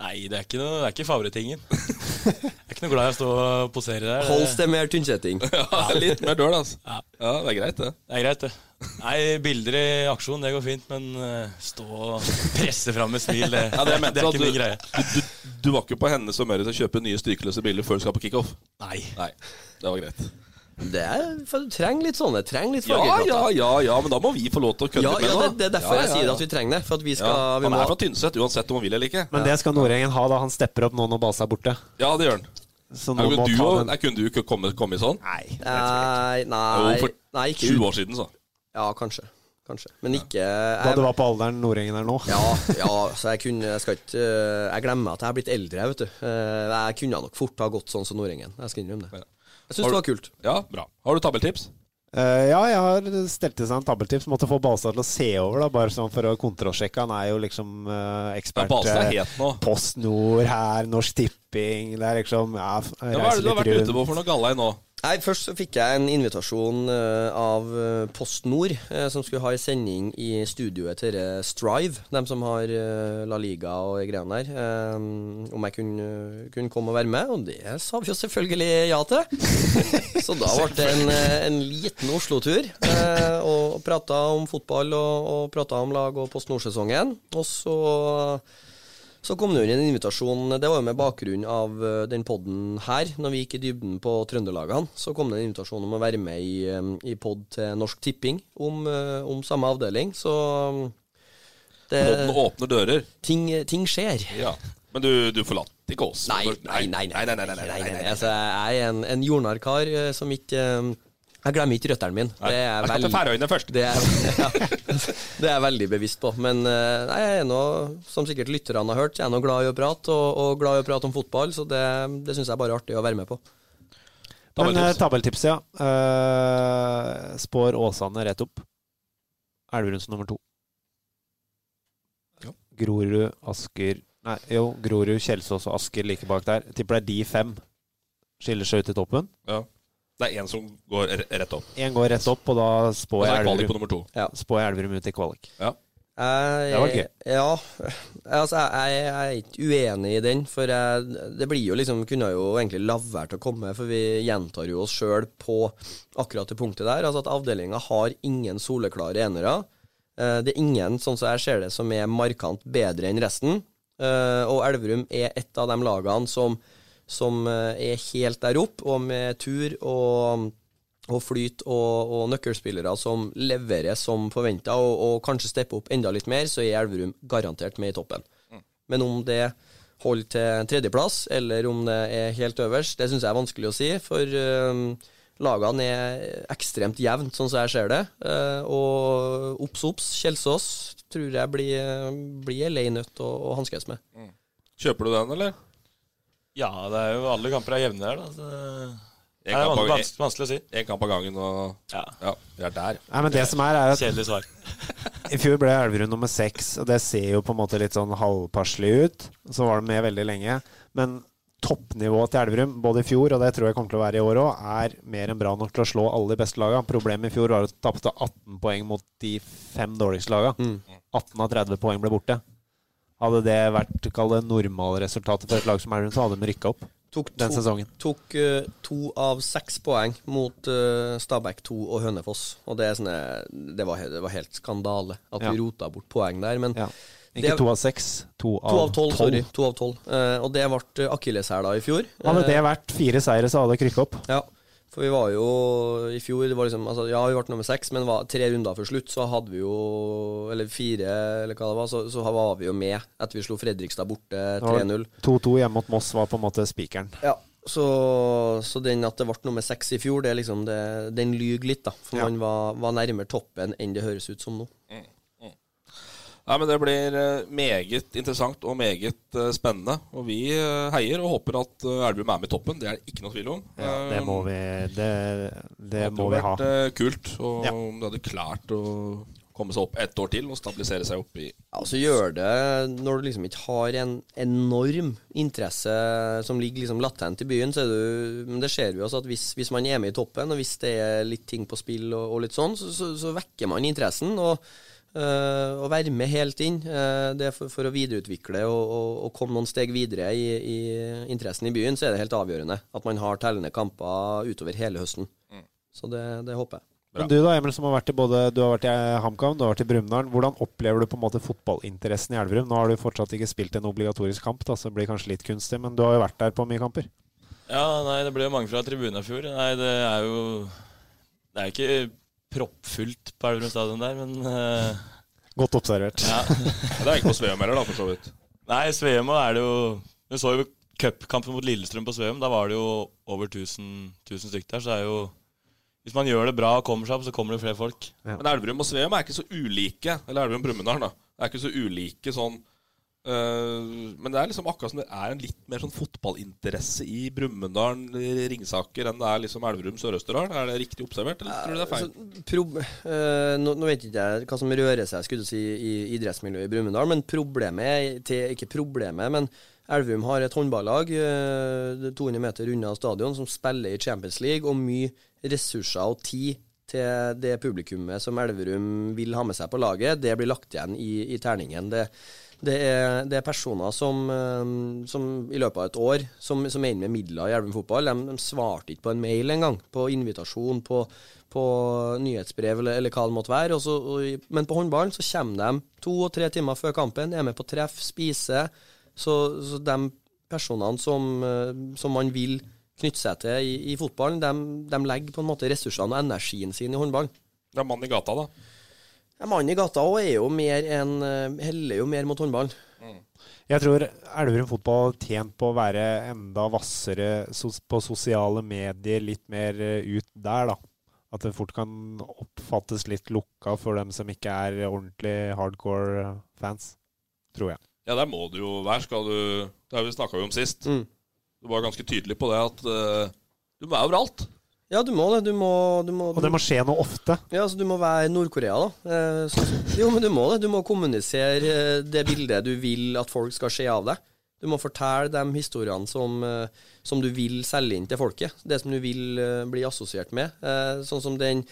Nei, det er ikke, noe, det er ikke favorittingen. Jeg er ikke noe glad i å stå og posere der. Holst det mer tynnsetting. ja litt mer døl, altså. Ja, det er greit, det. Det er greit, det. Nei, bilder i aksjon, det går fint, men eh, stå og presse fram med smil, det, Ja, det jeg det, mente er at ikke min greie. Du, du, du var ikke på hennes og Møres og kjøpe nye styrkeløse biler før du skal på kickoff? Nei. Nei, det var greit. Det er, for Du trenger litt sånne. Trenger litt Ja, fargeklatter. ja, ja, ja, men da må vi få lov til å kødde Ja, litt med ja, det, da. det er derfor Ja, ja, jeg sier ja. at vi trenger det. For at vi skal ja, vi Han må, er fra Tynset, uansett om han vil eller ikke. Men det skal Nordengen ha, da. Han stepper opp nå når Base er borte. Ja, det gjør han. Så Nei, nå men må du ta og- den. nei, Kunne du ikke komme, komme i sånn? Eh, Nei, Jo, nei, for nei ikke Sju ut. år siden, så. Ja, kanskje. Kanskje. Men ikke Da jeg, du var på alderen Nordengen er nå. Ja, ja, så jeg kunne Jeg skal ikke eh, Jeg glemmer at jeg er blitt eldre, jeg, vet du. Eh, Jeg kunne nok fort ha gått sånn som Nordengen. Jeg skal innrømme det. Jeg syns Har det du- var kult. Ja, bra. Har du tabelltips? Eh, ja, jeg har stelt til seg en tabeltips. Måtte få Balstad til å se over, da, bare sånn for å kontrollsjekke. Han er jo liksom eh, Ja, ekspert. Balstad er eh, het nå. Post Nord her, Norsk Tipping Det er liksom ja, f- Ja, Hva er det reiser du har litt vært ute rundt. på for noe gallei nå? Nei, Først så fikk jeg en invitasjon eh, av eh, Post Nord, eh, som skulle ha en sending i studioet til eh, Strive, dem som har eh, La Liga og greiene der, eh, om jeg kunne, kunne komme og være med. Og det sa vi jo selvfølgelig ja til. Så da ble det en, eh, en liten Oslo-tur, eh, og, og prata om fotball og, og prata om lag og Post Nord-sesongen. Og så så kom det jo inn en invitasjon, det var jo med bakgrunn av eh, den podden her, når vi gikk i dybden på Trøndelagene, så kom det en invitasjon om å være med i, eh, i podd til Norsk Tipping om, eh, om samme avdeling, så mm, det, Podden åpner dører. ting, ting skjer. Ja. Men du, du forlater ikke oss? Nei, nei, nei, nei, nei, nei, nei, nei. Altså, jeg er en, en jordnær kar eh, som ikke, eh, jeg glemmer ikke røtteren min. Det er Jeg skal til veldig- Færøyene først. Det er, ja, det er jeg veldig bevisst på. Men eh, nei, jeg er nå, som sikkert lytterne har hørt, jeg er nå glad i å prate, og, og glad i å prate om fotball, så det, det syns jeg er bare artig å være med på. Men eh, Tabelltips. tabelltips, ja. Eh, spår Åsane rett opp. Elverum som nummer to. Ja. Grorud, Asker Nei, jo, Grorud, Kjelsås og Asker like bak der. Tipper det er de fem skiller seg ut i toppen. Ja. Det er én som går re- rett opp. Én går rett opp, og da Og spår så jeg er kvalik på Elverum, nummer to. spår jeg Elverum ut i kvalik. Jeg, Det var gøy. Ja, altså jeg, jeg, jeg er ikke uenig i den, for jeg, det blir jo liksom Kunne jo egentlig la være til å komme, for vi gjentar jo oss sjøl på akkurat det punktet der. Altså at avdelinga har ingen soleklare enere. Eh, Det er ingen, sånn som jeg ser det, som er markant bedre enn resten. Eh, Og Elverum er et av de lagene som, som eh, er helt der opp, og med tur og og flyt og, og nøkkelspillere som leverer som forventa, og, og kanskje steppe opp enda litt mer, så er Elverum garantert med i toppen. Men om det holder til tredjeplass, eller om det er helt øverst, det syns jeg er vanskelig å si. For øhm, lagene er ekstremt jevnt, sånn som jeg ser det. Eh, og obs, obs, Kjelsås tror jeg blir, blir ei lei nøtt å, å hanskes med. Kjøper du den, eller? Ja, det er jo alle kamper er jevne der, da. Så det En er kamp av- vanskelig, vanskelig, vanskelig å si. En kamp av gangen, og Ja. ja, vi er der. Nei, men det som er, er at Kjedelig svar. I fjor ble Elverum nummer seks, og det ser jo på en måte litt sånn halvpasselig ut. Så var de med veldig lenge. Men toppnivået til Elverum, både i fjor og det tror jeg kommer til å være i år òg, er mer enn bra nok til å slå alle de beste lagene. Problemet i fjor var at de tapte 18 poeng mot de fem dårligste lagene. Mm. 18 av 30 poeng ble borte. Hadde det vært kall det normalresultatet for et lag som Elverum, så hadde de rykka opp Tok den to, sesongen. tok eh, to av seks poeng mot eh, Stabæk 2 og Hønefoss. Og det, er sånne, det, var, he- det var helt skandale at Ja. vi rota bort poeng der. Men Ja. Det- Ikke to av seks, to to av av tolv, tolv. sorry. To av tolv. Eh, og det ble akilleshæla i fjor. Hadde Eh, det vært fire seire, så hadde det krykka opp. Ja, for vi var jo i fjor det var liksom, altså, Ja, vi ble nummer seks, men var tre runder før slutt så hadde vi jo Eller fire, eller hva det var, så, så var vi jo med etter vi slo Fredrikstad borte 3-0. 2-2 hjemme mot Moss var på en måte spikeren. Ja, så, så den at det ble nummer seks i fjor, det er liksom det, den lyver litt, da. For Ja. man var, var nærmere toppen enn det høres ut som nå. Nei, men Det blir eh, meget interessant og meget eh, spennende. Og vi eh, heier og håper at eh, Elverum er med i toppen. Det er det ikke noe tvil om. Det må vi, det, det Det må hadde vi ha. Um, vært eh, kult og Ja. om de hadde klart å komme seg opp ett år til og stabilisere seg opp i Ja, så gjør det Når du liksom ikke har en enorm interesse som ligger liksom latent i byen, så er du Men det ser vi også, at hvis, hvis man er med i toppen, og hvis det er litt ting på spill og, og litt sånn, så, så, så vekker man interessen. og øh, å være med helt inn, øh, det er for, for å videreutvikle og, og, og komme noen steg videre i, i interessen i byen, så er det helt avgjørende at man har tellende kamper utover hele høsten. Så det, det håper jeg. Men du da, Emil, som har vært i både Du har vært i eh, HamKam, du har vært i Brumunddal. Hvordan opplever du på en måte fotballinteressen i Elverum? Nå har du fortsatt ikke spilt en obligatorisk kamp, da, så det blir kanskje litt kunstig, men du har jo vært der på mye kamper. Ja, nei, det ble jo mange fra tribunen i fjor. Nei, det er jo Det er jo ikke proppfullt på Elverum stadion der, men eh, Godt observert. ja. Det er ikke på Sveum heller, da, for så vidt. Nei, Sveum er det jo Du så jo cupkampen mot Lillestrøm på Sveum. Da var det jo over 1000, 1000 stykker der, så det er jo Hvis man gjør det bra og kommer seg opp, så kommer det flere folk. Men Elverum og Sveum er ikke så ulike. Eller Elverum og Brumunddal, da. Det er ikke så ulike sånn øh, Men det er liksom akkurat som det er en litt mer sånn fotballinteresse i Brumunddal, Ringsaker, enn det er liksom Elverum Sør-Østerdal. Er det riktig observert, eller tror du det er feil? Altså, prob eh, nå, nå vet ikke jeg hva som rører seg skulle jeg si, i idrettsmiljøet i Brumunddal, men problemet er til, Ikke problemet, men Elverum har et håndballag eh, det er 200 meter unna stadion som spiller i Champions League, og mye ressurser og tid til det publikummet som Elverum vil ha med seg på laget, det blir lagt igjen i, i terningen. Det, det, er, det er personer som, eh, som i løpet av et år som, som er inne med midler i Elverum fotball. De, de svarte ikke på en mail engang, på invitasjon, på, på nyhetsbrev eller, eller hva det måtte være. Og så, og, i- men på håndballen så kommer de to og tre timer før kampen, er med på treff, spiser. Så, så de personene som, eh, som man vil knytte seg til i, i fotballen, de, de legger på en måte ressursene og energien sin i håndballen. Det er mannen i gata, da. Ja, Mannen i gata òg er jo mer en eh, Heller jo mer mot håndballen. Jeg tror Elverum fotball har tjent på å være enda hvassere sos- på sosiale medier, litt mer eh, ut der, da. At det fort kan oppfattes litt lukka for dem som ikke er ordentlig hardcore eh, fans, tror jeg. Ja, der må du jo være. Skal du Det har vi snakka om sist. Mm. Du var ganske tydelig på det at øh, du må være overalt. Ja, du må det. Du må, du må, Og det må skje noe ofte. Ja, altså Du må være Nord-Korea, da. Eh, sånn som- jo, men du må det. Du må kommunisere eh, det bildet du vil at folk skal se av deg. Du må fortelle de historiene som, eh, som du vil selge inn til folket. Det som du vil eh, bli assosiert med. Eh, Sånn som den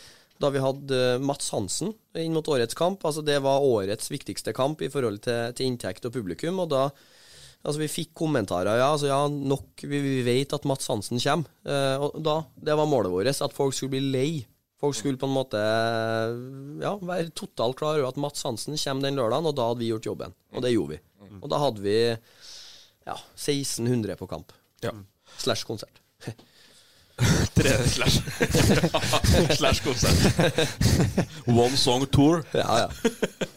da vi hadde eh, Mats Hansen inn mot årets kamp. altså Det var årets viktigste kamp i forhold til, til inntekt og publikum. og da Altså, vi fikk kommentarer, ja, altså, ja nok, vi, vi vet at Mats Hansen kommer. Eh, og da, det var målet vårt, at folk skulle bli lei. Folk skulle på en måte eh, ja, være totalt klar over at Mats Hansen kommer den lørdagen, og da hadde vi gjort jobben. Og det gjorde vi. Mm. Og da hadde vi ja, 1600 på kamp. Ja. Slash konsert. Tre slash Slash konsert. One song tour. Ja, ja.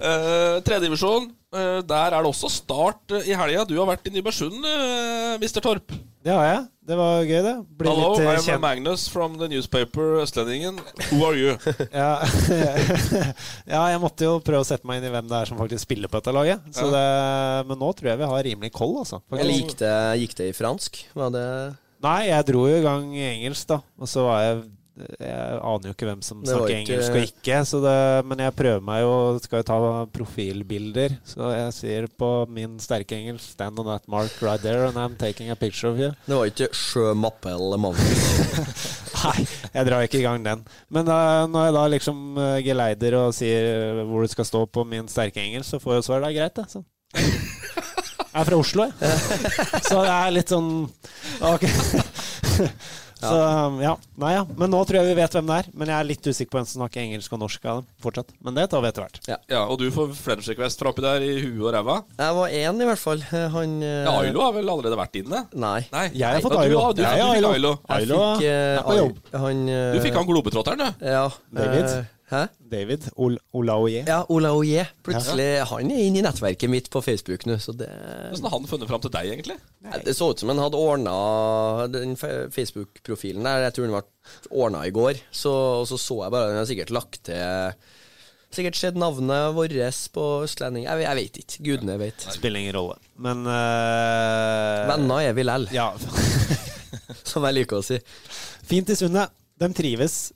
Uh, Tredjedivisjon. Uh, der er det også start eh, i helga. Du har vært i Nybergsund, eh, Mr. Torp. Det har jeg. Det var gøy, det. Bli Hello, litt eh, I'm kjent. Magnus from the newspaper Østlendingen. Who are you? Ja. ja, jeg måtte jo prøve å sette meg inn i hvem det er som faktisk spiller på dette laget. Så det, men nå tror jeg vi har rimelig koll, altså. Eller gikk det, gikk det i fransk? Var det Nei, jeg dro jo i gang i engelsk, da. Og så var jeg Jeg aner jo ikke hvem som Det var snakker ikke- engelsk og ikke, så det, men jeg prøver meg jo Skal jo ta profilbilder, så jeg sier på min sterke engelsk Stand on that mark right there, and I'm taking a picture of you. Det var ikke Sjø Mappe eller Magnus. Nei, jeg drar ikke i gang den. Men da, når jeg da liksom eh, geleider og sier eh, hvor det skal stå på min sterke engelsk, så får jeg svar. Det er greit, det. Sånn. Jeg er fra Oslo, jeg. Så det er litt sånn Ok. Så um, ja. Nei ja. Men nå tror jeg vi vet hvem det er. Men jeg er litt usikker på hvem som snakker engelsk og norsk av dem fortsatt. Men det tar vi etter hvert. Ja, Og du får French Request fra oppi der i huet og ræva. Jeg var én, i hvert fall. Eh, Han eh, Ja, Ailo har vel allerede vært inne? Nei. Nei. Jeg har fått Ja, du Ailo. har- Du, Jeg fikk har Ailo. Ailo Fikk, eh, er på jobb. Ai- Han eh, Du fikk han globetrotteren, du. Ja. David. eh, Hæ? David Ol Olaoye. Ja, Ola Oje. Plutselig, han er inne i nettverket mitt på Facebook nå, så det Hvordan har han funnet fram til deg, egentlig? Nei, Det så ut som han hadde ordna den fe- Facebook-profilen der. Jeg tror den ble ordna i går. Så, og så så jeg bare den har sikkert lagt til Sikkert sett navnet vårt på østlending. Jeg, jeg veit ikke. Gudene veit. Spiller ingen rolle. Men eh, Venner er vi lell, Ja. som jeg liker å si. Fint i sundet. De trives.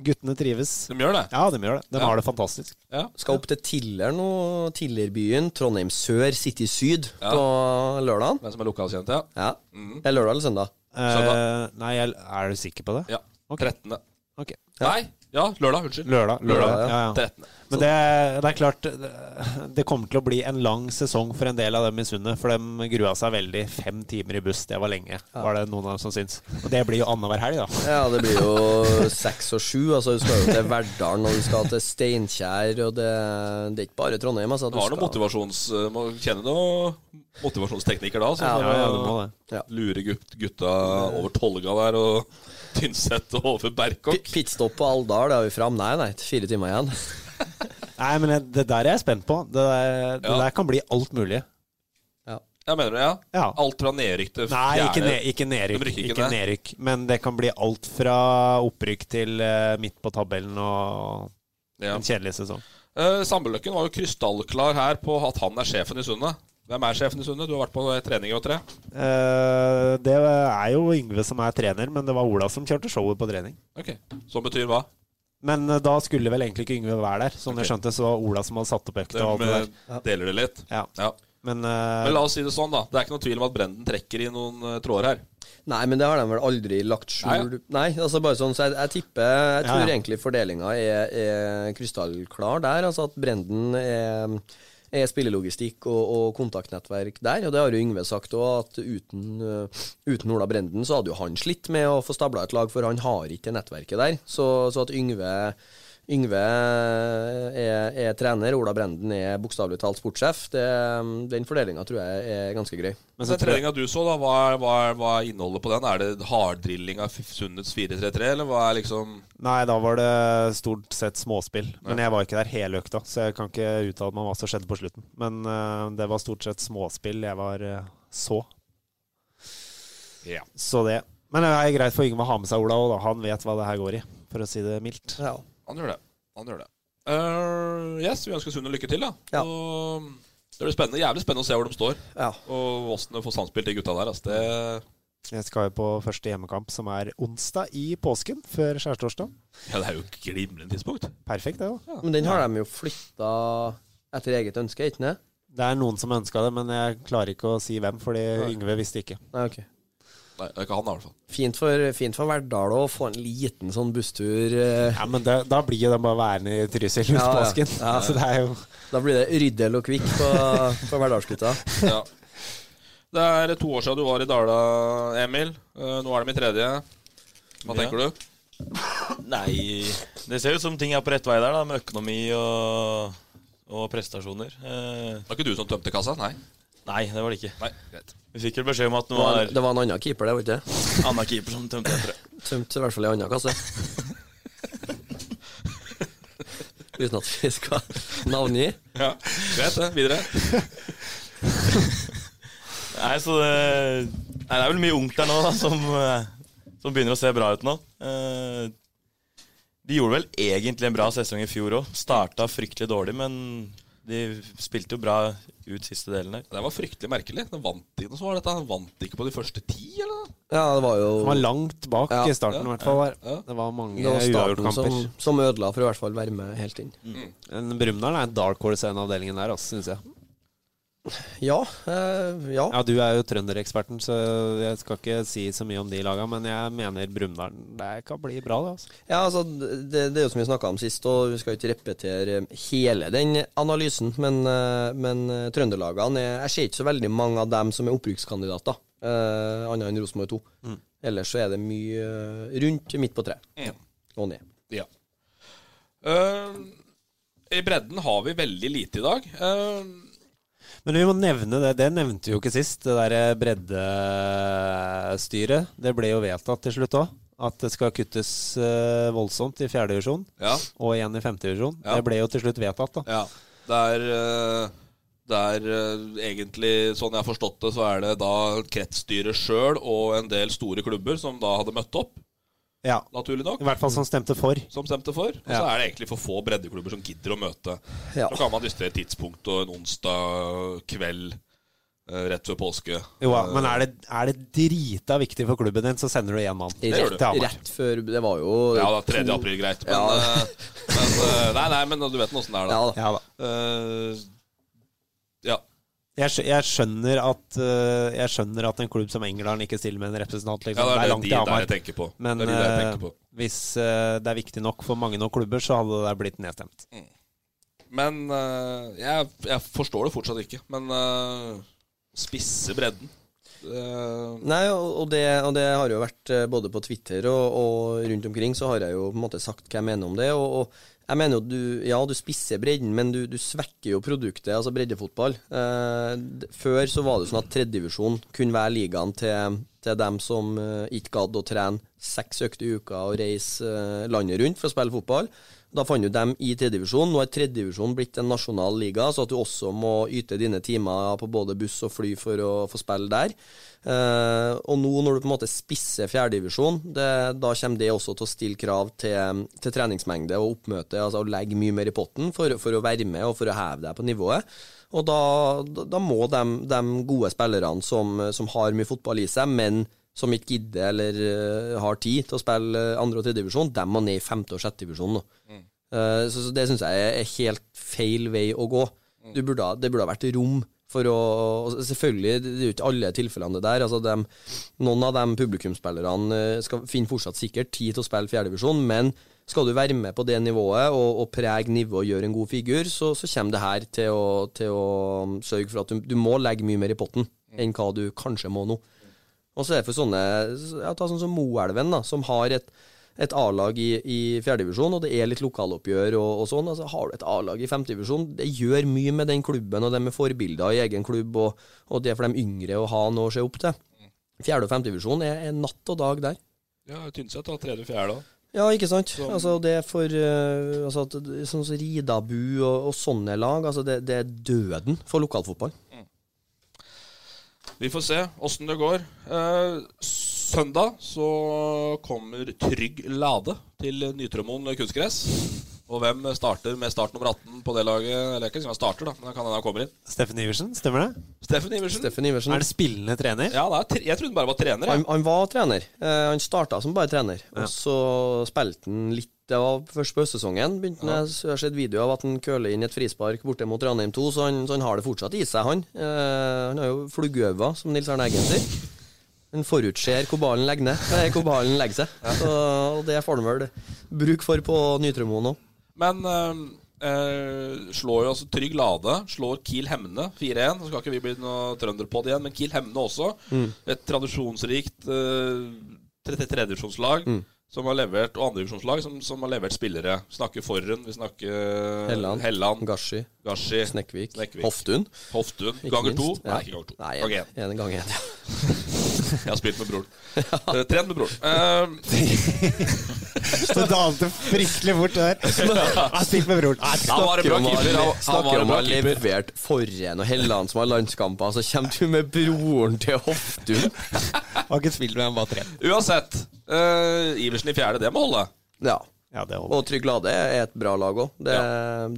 Guttene trives. De gjør det. Ja, de gjør det. De Ja. har det fantastisk. Ja. Skal opp til Tiller nå. Tillerbyen. Trondheim sør, City syd Ja. på lørdag. Den som er lokalkjent, ja. Ja. Er lørdag eller søndag? Eh, nei, jeg, er du sikker på det? ja. Ok. 13. Ok. Nei, ja, lørdag. Unnskyld. Lørdag. Lørdag, ja. Ja, 13. Men det, det er klart det- Det kommer til å bli en lang sesong for en del av dem i Sundet. For de grua seg veldig. Fem timer i buss, det var lenge, var det noen av dem som syns. Og det blir jo annenhver helg, da. Ja, det blir jo seks og sju. Altså, du skal jo til Verdalen, og du skal til Steinkjer, og det, det er ikke bare Trondheim. Altså, at Du har noen skal- motivasjons... eh, Må kjenne noen motivasjonsteknikker da. Så Ja, for Ja, å det må det. Lure gutt, gutta over Tolga der, og Tynset og over Pi- Berkåk. Pitstop på Alvdal, det er vi fram. Nei, nei, fire timer igjen. Nei, men det- det der er jeg spent på. Det der, det Ja. der kan bli alt mulig. Jeg mener det, ja. Ja. Alt fra nedrykk til Nei, ikke, fjerde. ned, ikke nedrykk. De rykker ikke ned. ikke nedrykk. Men det kan bli alt fra opprykk til eh, midt på tabellen og Ja. en kjedelig sesong. Eh, Sambeløkken var jo krystallklar her på at han er sjefen i Sundet. Hvem er sjefen i Sundet? Du har vært på trening i år, tre. Eh, det er jo Yngve som er trener, men det var Ola som kjørte showet på trening. Ok, Som betyr hva? Men eh, da skulle vel egentlig ikke Yngve være der, sånn Ok. jeg skjønte. Så det var Ola som hadde satt opp økta og alt det De der. eh, deler det litt. Ja. Ja. Men, eh, Men la oss si det sånn, da. Det er ikke noen tvil om at Brenden trekker i noen eh, tråder her. Nei, men det har de vel aldri lagt Nei, skjul Nei, altså bare sånn, så jeg, jeg tipper Jeg Ja, tror ja. egentlig fordelinga er, er krystallklar der. Altså at Brenden er, er spillelogistikk og, og kontaktnettverk der. Og det har jo Yngve sagt òg, at uten, øh, uten Ola Brenden så hadde jo han slitt med å få stabla et lag, for han har ikke det nettverket der. Så, så at Yngve Yngve er, er trener, Ola Brenden er bokstavelig talt sportssjef. Det, den fordelinga tror jeg er ganske grei. Men den treninga du så, da, hva er, hva er, hva er innholdet på den? Er det harddrilling av F- Sundets 4-3-3, eller hva er liksom Nei, da var det stort sett småspill. Men jeg var ikke der hele økta, så jeg kan ikke uttale meg om hva som skjedde på slutten. Men eh, det var stort sett småspill jeg var eh, så. Ja. Så det. Men det er greit for Yngve å ha med seg Ola òg, da. Han vet hva det her går i, for å si det mildt. Ja. Han gjør det. Han gjør det. Eh, yes, vi ønsker Sunde lykke til, da. Ja. Og det blir spennende, jævlig spennende å se hvor de står, ja. og åssen de får samspill til gutta der. Altså. Det, Jeg skal jo på første hjemmekamp, som er onsdag i påsken, før skjærtorsdag. ja, det er jo et glimrende tidspunkt. Perfekt, det, da. Men den har de jo flytta etter eget ønske, ikke sant? Det er noen som ønska det, men jeg klarer ikke å si hvem, fordi Yngve visste ikke. Nei, ok. Nei, det er ikke han, da, i hvert fall. Fint for, fint for Verdal å få en liten sånn busstur. eh. Ja, men det, Da blir jo den bare værende i Trysil ut Ja, ja. påsken. Så det er jo Da blir det Ryddel og Kvikk på, på Verdalsgutta. Ja. Det er to år siden du var i Dala, Emil. Eh, nå er det min tredje. Hva tenker du? Nei Det ser ut som ting er på rett vei der, da, med økonomi og, og prestasjoner. Eh, Det var ikke du som tømte kassa? Nei. nei, det var det ikke. Nei, greit. Vi fikk vel beskjed om at det Det var, var en- det var en annen keeper, det, var ikke det? Anna Keeper som tømte etter det. Tømt i hvert fall i annen kasse. Uten at vi skal navngi. Ja, Greit, det. Videre. Nei, så det, nei, det er vel mye ungt der nå da, som, eh, som begynner å se bra ut nå. Eh, de gjorde vel egentlig en bra sesong i fjor òg. Starta fryktelig dårlig, men De spilte jo bra ut siste delen der. Det var fryktelig merkelig. Den vant ikke noe så var dette. Den vant ikke på de første ti, eller? noe? Ja, det var jo Han var langt bak Ja. i starten, i hvert fall. Der. Ja. Det var mange det var starten som, uavgjort-kamper. som ødela for å i hvert fall være med helt inn. Men Brumunddal er en dark horse i den avdelingen der, altså, syns jeg. Ja, eh, ja. Ja, du er jo trøndereksperten, så jeg skal ikke si så mye om de laga, men jeg mener Brumunddal Det kan bli bra, det, altså. Ja, altså, det, det er jo som vi snakka om sist, og vi skal jo ikke repetere hele den analysen, men, eh, men eh, trønderlagene er- Jeg ser ikke så veldig mange av dem som er opprykkskandidater, eh, annet enn Rosenborg 2. Mm. Ellers så er det mye eh, rundt midt på treet og ned. Ja. Ehm, I bredden har vi veldig lite i dag. Ehm, Men vi må nevne det. Det nevnte vi jo ikke sist, det eh, derre breddestyret. Det ble jo vedtatt til slutt òg. At det skal kuttes eh, voldsomt i fjerde divisjon, ja. og igjen i femte divisjon. Ja. Det ble jo til slutt vedtatt, da. ja. Det er eh, det er eh, egentlig, sånn jeg har forstått det, så er det da kretsstyret sjøl og en del store klubber som da hadde møtt opp, Ja. naturlig nok, I hvert fall som stemte for. som stemte for. Og så Ja. er det egentlig for få breddeklubber som gidder å møte. Ja. Så kan man justere et tidspunkt og en onsdag kveld eh, rett før påske. Jo, ja, men er det, er det drita viktig for klubben din, så sender du én mann. Det gjør du. Til Hamar. Rett før Det var jo Ja, da, 3. april, greit. Men, Ja. eh, men eh, Nei, nei, men du vet nå åssen det er, da. Ja, da. Ja da. Eh, ja. Jeg, skjø- jeg, skjønner at, eh, jeg skjønner at en klubb som England ikke stiller med en ja, representant. Liksom. det er, langt de til der Hamar. jeg tenker på. Men det er de der jeg eh, tenker på. hvis eh, det er viktig nok for mange nok klubber, så hadde det der blitt nedstemt. Men eh, jeg, jeg forstår det fortsatt ikke. Men eh, spisse bredden Eh, Nei, og og det, og det har jo vært eh, både på Twitter og, og rundt omkring, så har jeg jo på en måte sagt hva jeg mener om det. Og, og jeg mener jo at du, ja, du spisser bredden, men du, du svekker jo produktet, altså breddefotball. Eh, d- før så var det sånn at tredjedivisjon kunne være ligaen til, til dem som eh, ikke gadd å trene seks økter i uka og reise eh, landet rundt for å spille fotball. Da fant du dem i tredjedivisjon. Nå er tredjedivisjon blitt en nasjonal liga, så at du også må yte dine timer på både buss og fly for å få spille der. Eh, og nå når du på en måte spisser fjerdedivisjon, da kommer det også til å stille krav til, til treningsmengde og oppmøte, altså å legge mye mer i potten for, for å være med og for å heve deg på nivået. Og da, da, da må de, gode spillerne som, som har mye fotball i seg, men som ikke gidder eller eh, har tid til å spille eh, andre- og tredjedivisjon, de må ned i femte- og sjettedivisjon nå. Eh, Så, så det syns jeg er helt feil vei å gå. Du burde, ha- det burde ha vært rom for å og Selvfølgelig, det er jo ikke alle tilfellene det der. Altså dem, noen av de publikumsspillerne eh, skal finne fortsatt sikkert tid til å spille fjerdedivisjon, men skal du være med på det nivået og, og prege nivået og gjøre en god figur, så, så kommer det her til å, til å um, sørge for at du, du må legge mye mer i potten enn hva du kanskje må nå. Og så er det for sånne ja, ta sånn som Moelven, da, som har et, et A-lag i, i fjerdedivisjon, og det er litt lokaloppgjør og, og sånn. Altså, har du et A-lag i femtedivisjon, det gjør mye med den klubben, og de er forbilder i egen klubb, og, og det er for de yngre å ha noe å se opp til. Fjerde- og femtedivisjon er, er natt og dag der. ja, Tynset da, tredje og fjerde. da. Ja, ikke sant. Altså, det er for eh, altså, at- sånn som Ridabu og, og sånne lag, altså, det, det er døden for lokalfotball. Vi får se åssen det går. Eh, søndag så kommer Trygg Lade til Nytremoen kunstgress. Og hvem starter med start nummer 18 på det laget? Eller jeg kan ikke si han starter, da, men han kan hende han kommer inn. Steffen Iversen, stemmer det? Steffen Iversen. Steffen Iversen. Er det spillende trener? Ja, det er tre, jeg trodde han bare var trener. Jeg. Han, han var trener. Eh, han starta som bare trener, og så spilte han litt. Det var først på høstsesongen. Begynte han- Jeg har sett video av at han køler inn et frispark borte mot Ranheim 2, så han, så han har det fortsatt i seg, han. Eh, han har jo flugøver, som Nils Arne Eggen sier. Han forutser hvor ballen legger, ned, nei, hvor ballen legger seg. Så, og det får han vel bruk for på Nytremoen òg. Men eh, eh, slår jo altså Trygg Lade, slår Kiel Hemne 4-1. Så skal ikke vi bli noe trønderpod igjen, men Kiel Hemne også. Mm. Et tradisjonsrikt eh, tredjevisjonslag Mm. som har levert, og andredivisjonslag som, som har levert spillere. Vi snakker Forren, vi snakker eh, Helland. Helland Gashi, Gashi, Snekkvik, Snekkvik. Hoftun. Hoftun. ikke Ganger to. minst. Ja. Nei, ikke ganger to. Nei, en, Ganger én. en gang én. Ja. Jeg har spilt med broren. Eh, trent med broren. Eh, Det dalte fryktelig fort der. Jeg spilte med broren. han var en bra om å ha- keeper. Han- Han Snakker var en om å bra ha keeper. levert Forren og Helland som har landskamper, så kommer du med broren til Hoftun. Har ikke spilt med, han var tre. Uansett. eh, Iversen i fjerde, det må holde. Ja. Ja, det holder. Og Trygg Lade er et bra lag òg. Det,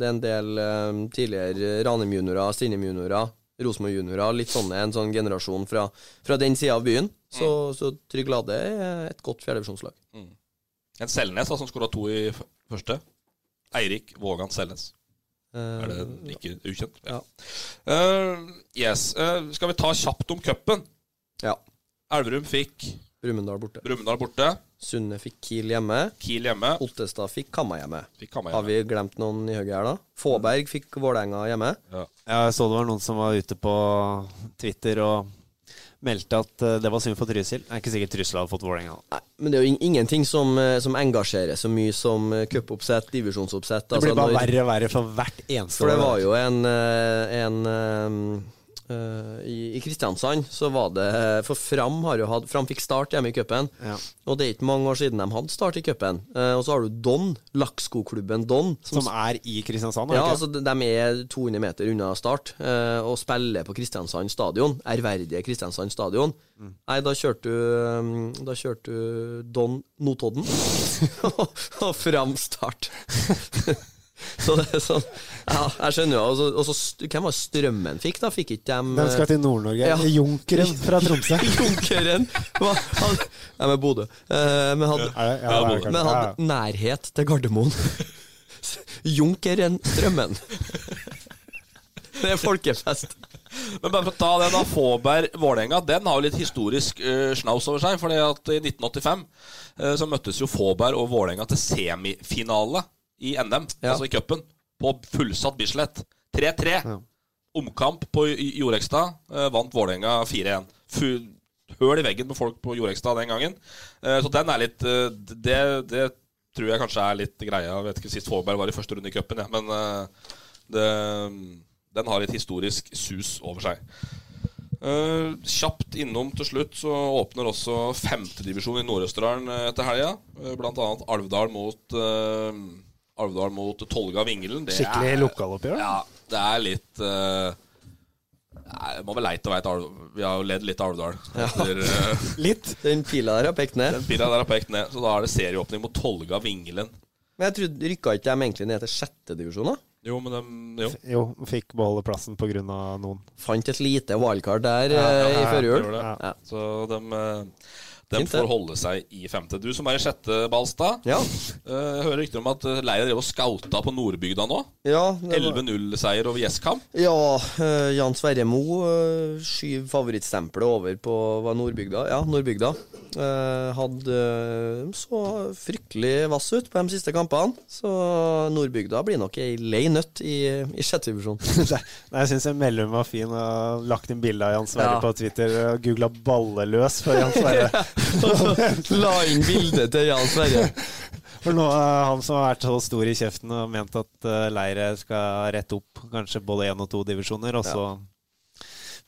det er en del eh, tidligere Ranheim juniorer, Strindheim juniorer, Rosenborg juniorer. Litt sånne, en sånn generasjon fra, fra den sida av byen. Så, Mm. så Trygg Lade er et godt fjerdedivisjonslag. En Selnes da, som skåra to i f første. Eirik Vågan Selnes. Er det Mm. ikke ukjent? Ja. Eh, yes. Eh, skal vi ta kjapt om cupen? Ja. Elverum fikk Brumunddal borte. Brumunddal borte. Sunne fikk Kiel hjemme. Kiel hjemme. Ottestad fikk Kamma hjemme. Fikk Hamar Har hjemme. vi glemt noen i høyre her, da? Fåberg fikk Vålerenga hjemme. Ja, Jeg så det var noen som var ute på Twitter og meldte at eh, det var synd for Trysil. Det er ikke sikkert Trysil hadde fått Vålerenga. da. Nei, men det er jo in- ingenting som, eh, som engasjerer så mye som eh, cupoppsett, divisjonsoppsett. Det blir Altså, bare når- verre og verre for hvert eneste For det år, da. var jo en, eh, en eh, eh, i, I Kristiansand så var det eh, For Fram, har jo hatt, Fram fikk start hjemme i cupen. Ja. Og det er ikke mange år siden de hadde start i cupen. Eh, og så har du Don, lakkskoklubben Don. Som er i Kristiansand? er det ja, ikke? altså de de er 200 meter unna start eh, og spiller på Kristiansand stadion. Ærverdige Kristiansand stadion. Nei, da kjørte du eh, Da kjørte du Don Notodden og fram start. så det er sånn Ja, jeg skjønner jo. Og så- Og så st- hvem var det Strømmen fikk, da? Fikk ikke dem De skal eh, til Nord-Norge. Ja. Junkeren fra Tromsø. Junkeren? Hva- han- Nei, men Bodø. Eh, men hadde Er det? Ja, det er det kanskje. men Ja, ja. hadde nærhet til Gardermoen. Junkeren Strømmen. Det er folkefest. Men bare for å ta den da, Fåberg-Vålerenga den har jo litt historisk eh, snaus over seg. fordi at i 1985 eh, så møttes jo Fåberg og Vålerenga til semifinale i NM, Ja. altså i cupen, på fullsatt Bislett. 3-3. Ja. Omkamp på J- Jorekstad. eh, vant Vålerenga 4-1. Fu- Høl i veggen med folk på Jorekstad den gangen. Eh, så den er litt eh, det, det tror jeg kanskje er litt greia. Jeg vet ikke sist Fåberg var i første runde i cupen, jeg, men eh, det, den har et historisk sus over seg. Eh, kjapt innom til slutt så åpner også femtedivisjon i Nord-Østerdalen eh, etter helga. Eh, blant annet Alvdal mot uh, Alvdal mot Tolga Vingelen. Det Skikkelig er, lokaloppgjør. da. ja, det er litt eh, nei, Det må være leit å være et Alv... Vi har jo ledd litt av Alvdal. Etter, eh, Litt. Den pila der har pekt ned. den pila der er pekt ned, så da er det serieåpning mot Tolga Vingelen. Men jeg trodde rykka ikke de egentlig ned til sjettedivisjon, da? Jo, men dem- jo. Jo, fikk beholde plassen pga. noen. Fant et lite wildcard der ja, eh, i ja, før jul. gjorde det. Ja. Så de, eh, de Fint, det. får holde seg i femte. Du som er i sjette, Balstad. Ja. Eh, Jeg hører rykter om at eh, Leia drev og skauta på Nordbygda nå. Ja, det var- 11-0-seier over Gjesskam. ja eh, Jan Sverre Mo eh, skyv favorittstempelet over på hva, Nordbygda. Ja, Nordbygda. Eh, hadde eh, så fryktelig vass ut på de siste kampene, så Nordbygda blir nok ei lei nøtt i, i sjette divisjon. Nei, Jeg syns Mellum var fin og har lagt inn bilde av Jan Sverre Ja. på Twitter og googla 'balleløs' for Jan Sverre. La inn bildet til Jan Sverre. For nå er han som har vært så stor i kjeften og ment at eh, Leire skal rette opp kanskje både én og to divisjoner, og så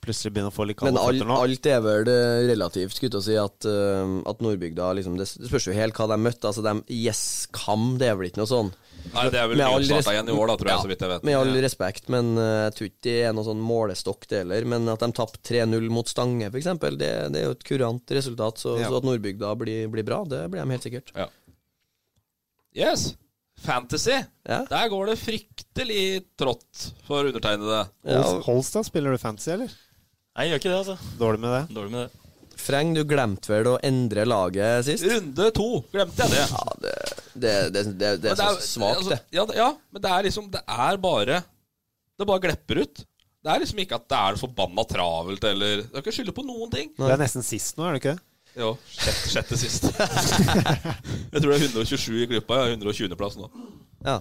plutselig begynne å få litt Men kalde all, føtter nå. alt er vel eh, relativt, skulle jeg til å si, at, eh, at Nordbygda liksom, Det spørs jo helt hva de møtte. Altså, de Yes-Kam, det er vel ikke noe sånn. Nei, det er vel Med all nyoppstarta res- igjen i år, da, tror jeg, Ja, så vidt jeg vet. Med all respekt, men eh, jeg tror ikke det er noe sånn målestokk det heller. Men at de tapte 3-0 mot Stange, f.eks., det, det er jo et kurant resultat. Så, Ja. så at Nordbygda blir, blir bra, det blir de helt sikkert. Ja. Yes. Fantasy. Ja. Der går det fryktelig trått for undertegnede. Ja, Holst- Holstad, spiller du fancy, eller? Nei, jeg gjør ikke det, altså. Dårlig med det? Dårlig med det. Freng, du glemte vel å endre laget sist? Runde to. Glemte jeg det. Ja, det, det, det, det, det Men er så svakt, altså, det. Ja, det- ja, men det er liksom Det er bare Det bare glepper ut. Det er liksom ikke at det er forbanna travelt eller Du kan ikke skylde på noen ting. Du er nesten sist nå, er du ikke det? Jo, sjette, sjette sist. jeg tror det er 127 i klippa. Jeg er 120.-plass nå. Ja.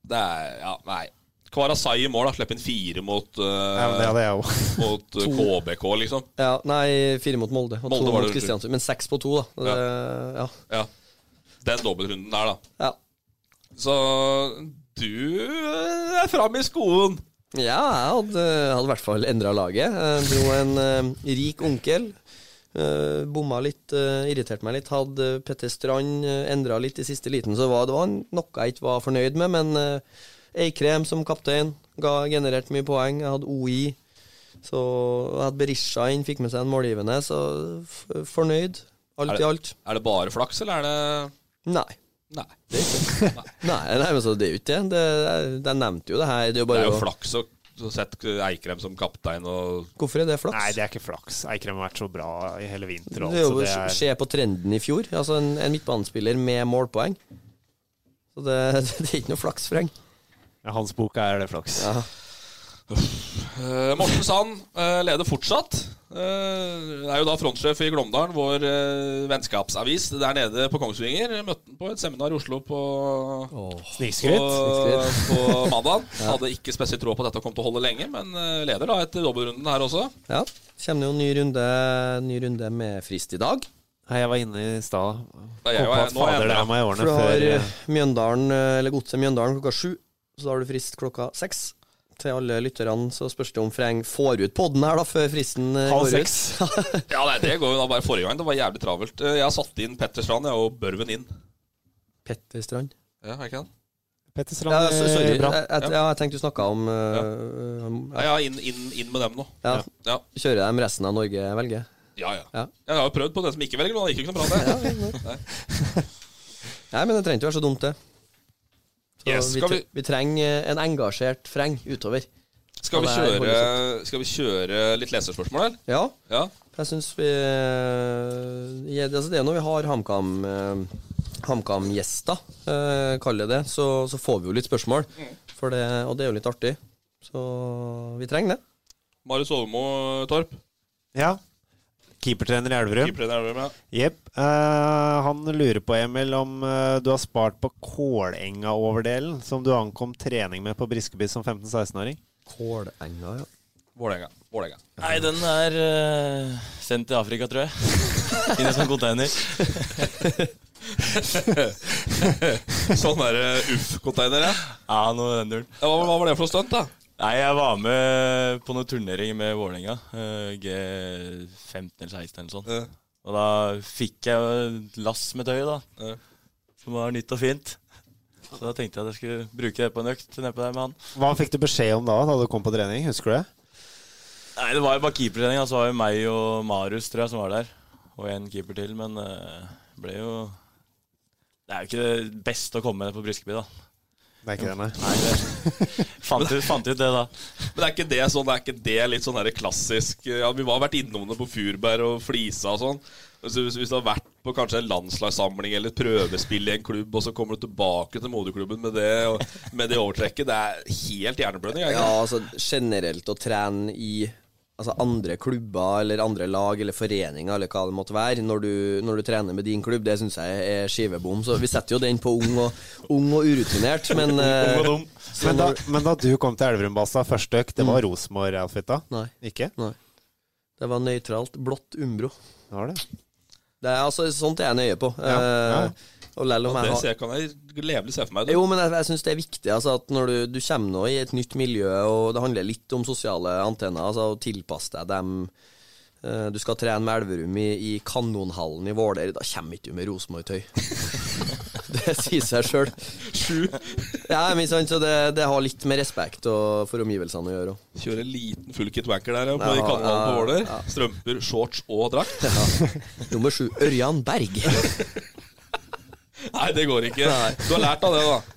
Det er Ja, nei. Kvarasai i mål, da. Slipp inn fire mot, eh, Ja, men det hadde jeg òg. mot eh, KBK, liksom. ja. Nei, fire mot Molde og Molde to var mot det, Kristiansund. Men seks på to, da. Det, ja. Ja. Den dobbeltrunden der, da. Ja. Så du eh, er framme i skoen. ja, jeg hadde, hadde i hvert fall endra laget. Jeg dro en eh, rik onkel. eh, bomma litt, eh, irriterte meg litt. Hadde Petter Strand uh, endra litt i siste liten, så var, det var noe jeg ikke var fornøyd med. Men eh, Eikrem som kaptein ga generert mye poeng. Jeg hadde OI. Så jeg hadde Berisha inn, fikk med seg en målgivende, så f fornøyd. Er Alt i det- alt. Er det bare flaks, eller er det Nei. Nei. Det er ikke. Nei. Nei, nei, men så det er jo ikke det. Det- Jeg nevnte jo det her. Det er jo Det bare er jo å- flaks å å sette Eikrem som kaptein og Hvorfor er det flaks? Nei, det er ikke flaks. Eikrem har vært så bra i hele vinter. Og Det er alt, jo så det er... Se på trenden i fjor. Altså En, en midtbanespiller med målpoeng. Så det, det er ikke noe flaks, Freng. Ja, Hans bok er det flaks. Ja. Eh, Morten Sand eh, leder fortsatt. Eh, er jo da frontsjef i Glåmdalen, vår eh, vennskapsavis der nede på Kongsvinger. Møtte han på et seminar i Oslo på, på, Snikskryt. på mandag. Hadde ikke spesielt tro på at dette kom til å holde lenge, men eh, leder da etter dobbeltrunden her også. Ja. Kommer det jo en ny runde, ny runde med frist i dag. Nei, jeg var inne i stad. Da jeg Håper var- at nå er jeg fader det bra. er meg i årene For du har før eh, Mjøndalen, eh, eller Godset Mjøndalen klokka sju. Så da har du frist klokka seks. Til alle lytterne så spørs det om Freng får ut podden her da før fristen eh, Halv går ut. seks. Ja, nei, Det går jo da bare forrige gang. Det var jævlig travelt. Eh, Jeg satte inn Petter Strand jeg, og Børven inn. Petter Strand. Ja, er ikke han? Petter Ja, Strand så- sorry. er Jeg, eh, bra. Eh, jeg, ja, jeg tenkte du snakka om eh, om- Ja, ja inn, inn, inn med dem nå. Ja. Ja. Kjører dem resten av Norge velger? Ja, ja. Ja. Jeg har jo prøvd på den som ikke velger, og det gikk jo ikke noe bra. det Nei, men det trengte ikke være så dumt, det. Så Yes, vi, skal tre vi- vi trenger eh, en engasjert freng utover. Skal Og vi det er kjøre, skal vi kjøre litt leserspørsmål, eller? Ja, Ja. for jeg syns vi ja, altså Det er når vi har HamKam eh, HamKam-gjester, eh, kall det det, så, så får vi jo litt spørsmål. For det, og det er jo litt artig. Så vi trenger det. Marius Overmo Torp. Ja. Keepertrener i Elverum. Keeper i Elverum, ja. Jepp. Eh, han lurer på, Emil, om eh, du har spart på Kålenga-overdelen som du ankom trening med på Briskeby som 15-16-åring? Kålenga, ja. Vålerenga. Vålerenga. Nei, den er eh, sendt til Afrika, tror jeg. Inni en sånn container. Sånn derre uff-container, ja. Ja, noe i den duren. ja. Hva, hva var det for noe stunt, da? Nei, jeg var med på noen turnering med Vålerenga. eh, G15 eller 16 eller sånn. Ja. Og da fikk jeg et lass med tøy, da. Ja. Som var nytt og fint. Så da tenkte jeg at jeg skulle bruke det på en økt nedpå der med han. Hva fikk du beskjed om da da du kom på trening? Husker du det? Nei, det var jo bare keepertrening. Altså, det var jo meg og Marius tror jeg som var der. Og en keeper til, men eh, ble jo Det er jo ikke det beste å komme med på Briskeby, da. Det er ikke det, nei. Nei, det... fant, ut, fant ut det, da. Men er ikke det sånn, er ikke det litt sånn der klassisk Ja, Vi har vært innom det på Furberg og Flisa og sånn. Altså, hvis, hvis du har vært på kanskje en landslagssamling eller et prøvespill i en klubb, og så kommer du tilbake til moderklubben med det, og, med det overtrekket, det er helt hjerneblødning. er det Ja, ikke det? altså generelt å trene i altså, andre klubber eller andre lag eller foreninger eller hva det måtte være, når du, når du trener med din klubb, det syns jeg er skivebom. Så vi setter jo den på ung og, ung og urutinert, men eh, så Men da, når- men da du kom til Elverum, Basta, første økt, det var Rosenborg-outfit da? Nei. Ikke? Nei. Det var nøytralt. Blått Umbro. Det var det. Det er altså sånt er jeg nøye på. Ja, ja. Eh, og lell om jeg Det har ser, jeg- kan jeg levelig se for meg. Jo, men jeg, jeg syns det er viktig altså, at når du, du kommer nå i et nytt miljø, og det handler litt om sosiale antenner, altså og tilpass deg dem Eh, Du skal trene med Elverum i, i Kanonhallen i Våler, da kommer ikke du med Rosenborg-tøy. det sier seg sjøl. Ja, men sant, så det, det har litt med respekt og, for omgivelsene å gjøre òg. Kjøre en liten full kit wanker der ja, på, i Ja, kanalen på ja, Våler. ja. Strømper, shorts og drakt. Nummer sju, Ørjan Berg. Nei, det går ikke. Du har lært av det, da.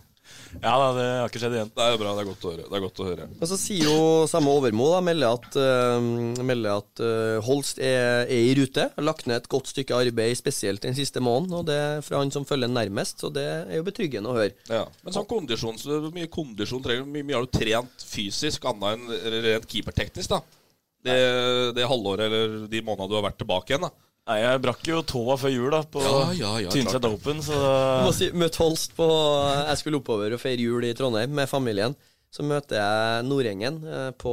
Ja da, det har ikke skjedd igjen. Det er jo bra. Det er godt å høre. Det er godt å høre. Men så sier jo samme Overmo da, melder at, eh, melder at eh, Holst er, er i rute. Har lagt ned et godt stykke arbeid, spesielt den siste måneden. Og det er fra han som følger nærmest, så det er jo betryggende å høre. Ja. Men sånn kondisjon, så hvor mye kondisjon trenger du? Hvor mye har du trent fysisk, annet enn rent keeperteknisk, da? Det, det halvåret eller de månedene du har vært tilbake igjen, da. Nei, jeg brakk jo tåa før jul da, på Ja, ja, ja, Tynset klart. Open, så Jeg må si, møtte Holst på eh, Jeg skulle oppover og feire jul i Trondheim med familien. Så møter jeg Nordengen eh, på,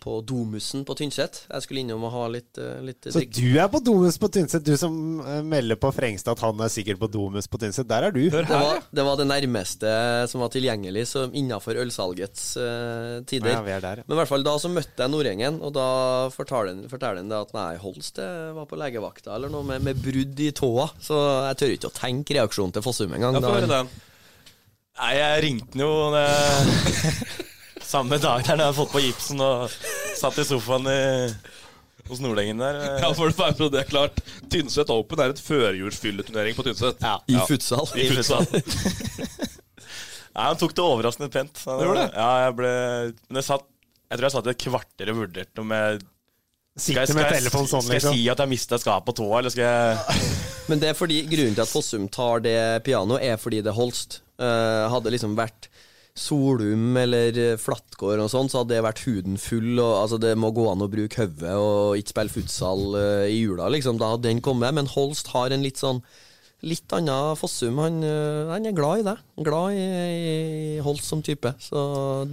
på Domusen på Tynset. Jeg skulle innom og ha litt, eh, litt Så du er på Domus på Tynset, du som eh, melder på Frengstad at han er sikkert på Domus på Tynset. Der er du. Hør Det var, det var det nærmeste som var tilgjengelig som innenfor ølsalgets eh, tider. Ja, vi er der, ja. Men i hvert fall da så møtte jeg Nordengen, og da forteller han- forteller han det at nei, Holst eh, var på legevakta eller noe med, med brudd i tåa. Så jeg tør ikke å tenke reaksjonen til Fossum engang. Ja, få høre Da- den. Nei, jeg ringte den jo det... samme dag der jeg hadde fått på gipsen og satt i sofaen i hos nordlengen der. eh, Ja, for bare så det er klart. Tynset Open er et førjulsfylleturnering på Tynset. Ja. I futsal. I futsal. Nei, Han tok det overraskende pent. Han, Du gjorde det? Ja, jeg ble men jeg, satt, jeg tror jeg satt i et kvarter og vurderte om jeg Sitter med telefonen sånn, skal jeg liksom. si at jeg mista skapet på tåa, eller skal jeg Men det er fordi grunnen til at Fossum tar det pianoet, er fordi det er Holst. Eh, hadde liksom vært Solum eller eh, Flatgård og sånn, så hadde det vært huden full. Og, altså Det må gå an å bruke hodet og ikke spille futsal eh, i jula, liksom. Da hadde den kommet. Men Holst har en litt sånn Litt annen Fossum. Han, eh, han er glad i det. Glad i, i Holst som type. Så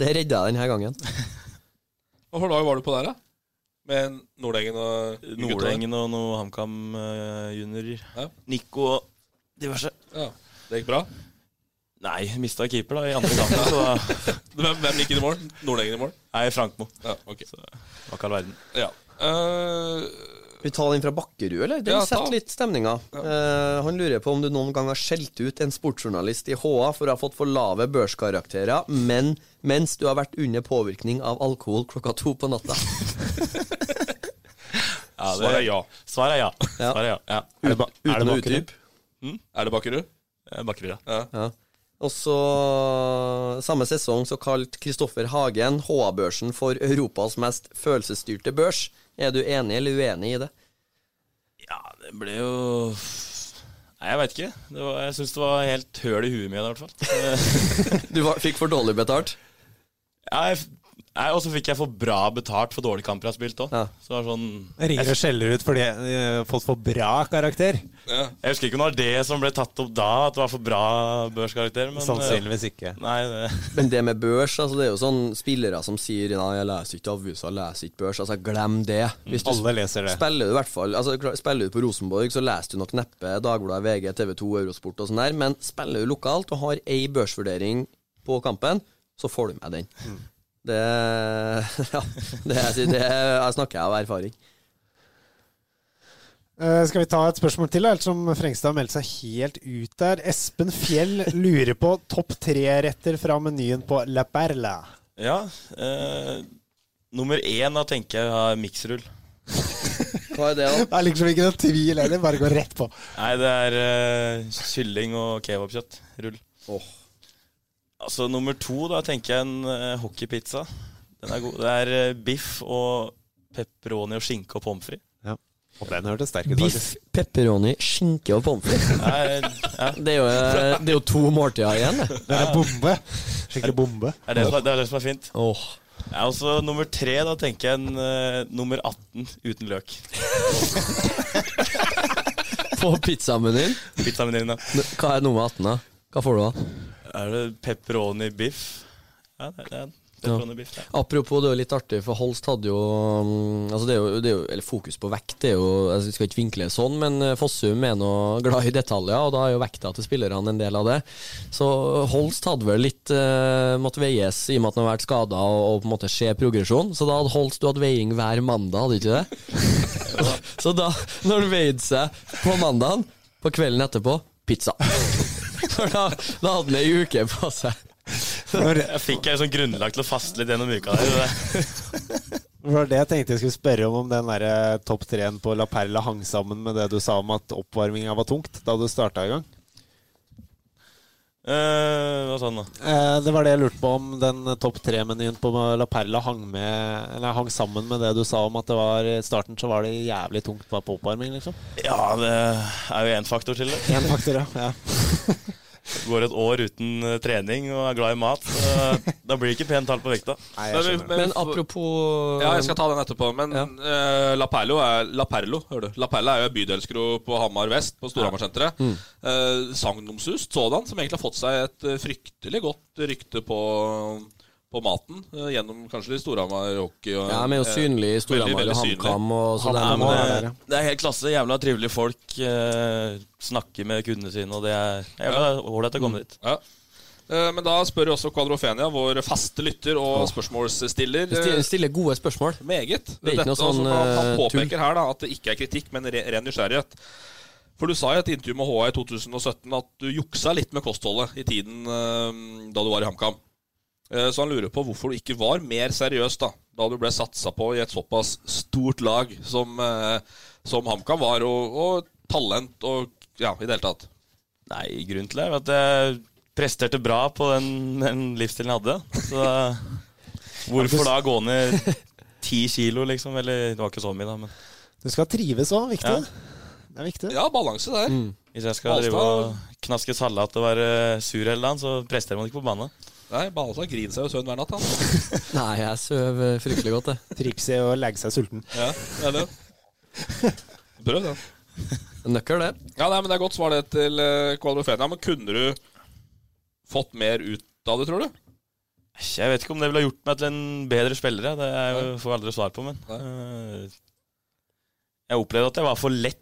det redda jeg denne gangen. Hvilken dag var du på der, da? Med Nordengen og Nordengen og noe HamKam-juniorer. Ja. Nico og diverse. Ja. Det gikk bra? Nei, mista keeper da i andre kampen, så da Hvem, hvem gikk inn i mål? Nordengen i mål? Nei, Frankmo. Ja, ok. Var ikke all verden. Ja. Eh, Skal vi ta den fra Bakkerud, eller? Den Ja, ta. setter litt stemninga. Eh, han lurer på om du noen gang har skjelt ut en sportsjournalist i HA for å ha fått for lave børskarakterer, men mens du har vært under påvirkning av alkohol klokka to på natta. Ja, det- Svaret er ja. Svaret er ja. Svaret er ja. ja. Er det ba- er det Uten å Bakkerud? utdype. Er det Bakkerud? Eh, Bakkerud, ja. Ja. Og så, samme sesong, så kalt Kristoffer Hagen HA-børsen for Europas mest følelsesstyrte børs. Er du enig eller uenig i det? Ja, det ble jo Nei, jeg veit ikke. Det var, jeg syns det var helt høl i huet mitt, i hvert fall. Du var, fikk for dårlig betalt? Ja, jeg f- Nei, Og så fikk jeg for bra betalt for dårlige kamper jeg har spilt òg. Ja. Så det var sånn Jeg ringer og skjeller ut fordi jeg har fått for bra karakter. Jeg husker ikke om det var det som ble tatt opp da, at det var for bra børskarakter, men eh, Sannsynligvis ikke. Nei, det, Men det med børs, altså det er jo sånn spillere som sier Nei, jeg leser ikke avisa, jeg leser ikke børs. Altså, glem det. Hvis du Alle leser det. spiller du i hvert fall altså, klar- Spiller du på Rosenborg, så leser du nok neppe Dagbladet, VG, TV 2, Eurosport og sånn der, men spiller du lokalt og har ei børsvurdering på kampen, så får du med den. Det Ja, det, jeg sier- det jeg snakker jeg av erfaring. Eh, skal vi ta et spørsmål til, da, ettersom Frengstad har meldt seg helt ut der? Espen Fjell lurer på topp tre-retter fra menyen på La Perla. ja eh, Nummer én da tenker jeg har miksrull. Hva er det, da? Det er liksom ikke noen tvil heller, bare gå rett på. Nei, det er eh, kylling og kebabkjøtt. Rull. Altså nummer to, da tenker jeg en eh, hockeypizza. Den er god. Det er eh, biff og pepperoni og skinke og pommes frites. Og den hørtes sterk ut, Biff, pepperoni, skinke og pommes frites. Det er- eh, Ja, Det, er jo- det er jo to måltider igjen, det. Det er en bombe. Skikkelig bombe. det er det som er, det er, det som er fint. Åh. Ja, og så nummer tre, da tenker jeg en eh, nummer 18 uten løk. På pizzamenyen. Pizzaen min, da. Hva er nummer 18, da? Hva får du da? Er det pepperoni biff? Ja, det det er en pepperoni biff. Ja. Apropos, det er jo litt artig, for Holst hadde jo mm, Altså det er jo, det er jo Eller fokus på vekt, det er jo Jeg skal ikke vinkle det sånn, men eh, Fossum er nå glad i detaljer, og da er jo vekta til spillerne en del av det. Så Holst hadde vel litt eh, Måtte veies i og med at han har vært skada og, og på en måte se progresjon, så da hadde Holst Du hadde veiing hver mandag, hadde du ikke det? Så da, når han veide seg på mandagen, på kvelden etterpå, pizza. For da, da hadde han ei uke på seg. Jeg fikk jeg sånn grunnlag til å faste litt gjennom uka der. Det var det jeg tenkte jeg skulle spørre om, om den der eh, topp treen på La Perla hang sammen med det du sa om at oppvarminga var tungt da du starta i gang. Eh, hva sa han da? Eh, Det var det jeg lurte på om den eh, topp tre-menyen på La Perla hang, med, eller hang sammen med det du sa om at det var i starten så var det jævlig tungt på på oppvarming, liksom. Ja, det er jo én faktor til. det. Én faktor, ja. ja. Går et år uten eh, trening og er glad i mat. så Da blir det ikke pent tall på vekta. Nei, Men jeg vi- skjønner. men vi Men får- apropos Ja, jeg skal ta den etterpå. Men Ja. eh, La Perlo er La Perlo, hører du. La Perla er jo en bydelskro på Hamar vest, på Storhamar-senteret. Mm. Eh, sagnomsust sådan, som egentlig har fått seg et eh, fryktelig godt rykte på, på maten. eh, gjennom kanskje litt Storhamar hockey. Og, Ja, de er jo eh, synlige i Storhamar veldig, og veldig HamKam. og sånn. eh, så Nei, der, men men det- det, det er helt klasse. Jævla trivelige folk. Eh, snakker med kundene sine, og det er det er jævla ålreit å komme dit. Ja. Eh, men da spør jo også Kvadrofenia, vår faste lytter og spørsmålsstiller. Det eh, stiller- stiller gode spørsmål. Meget. Det er ikke noe Dette også, sånn, han, han eh, påpeker her da, at det ikke er kritikk, men re ren nysgjerrighet. For du sa i et intervju med HA i 2017 at du juksa litt med kostholdet i tiden eh, da du var i HamKam. Eh, Så han lurer på hvorfor du ikke var mer seriøs da Da du ble satsa på i et såpass stort lag som, eh, som HamKam var, og, og talent og ja, i det hele tatt. Nei, grunnen til det er jo at jeg presterte bra på den, den livsstilen jeg hadde. Så hvorfor da gå ned ti kilo, liksom? Eller det var ikke så mye, da, men Du skal trives òg, viktig. Ja. Det er viktig. Ja, balanse der. Mm. hvis jeg skal drive og knaske salat og være sur hele dagen, så presterer man ikke på banen. Nei, Balstad griner seg jo søvn hver natt, han. Nei, jeg søv eh, fryktelig godt, jeg. Trikset er å legge seg sulten. Ja, det er det. Prøv det. Nøkkel, det. Ja, nei, men det er godt svar det til eh, Kvalbe Fenia. Men kunne du fått mer ut av det, tror du? Jeg vet ikke om det ville ha gjort meg til en bedre spiller. jeg. Det er jo- får jeg aldri svar på, men øh, Jeg opplevde at jeg var for lett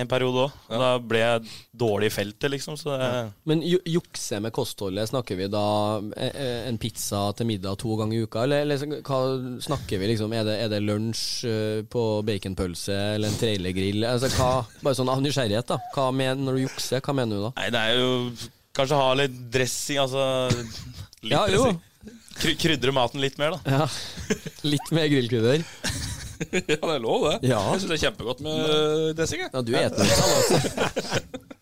en periode òg. Da ble jeg dårlig i feltet, liksom. Så det, Men ju jukse med kostholdet, snakker vi da eh, eh, en pizza til middag to ganger i uka, eller, eller så- hva snakker vi liksom? Er det, er det lunsj eh, på baconpølse eller en trailergrill? Altså, hva, bare sånn av nysgjerrighet, da. Hva men, når du jukser, hva mener du da? Nei, det er jo Kanskje ha litt dressing, altså litt Ja, jo. dressing. Kry krydre maten litt mer, da. Ja. Litt mer grillkrydder. ja, det er lov, det. Ja. Jeg syns det er kjempegodt med eh, dressing. jeg. Ja, du eter jo salat.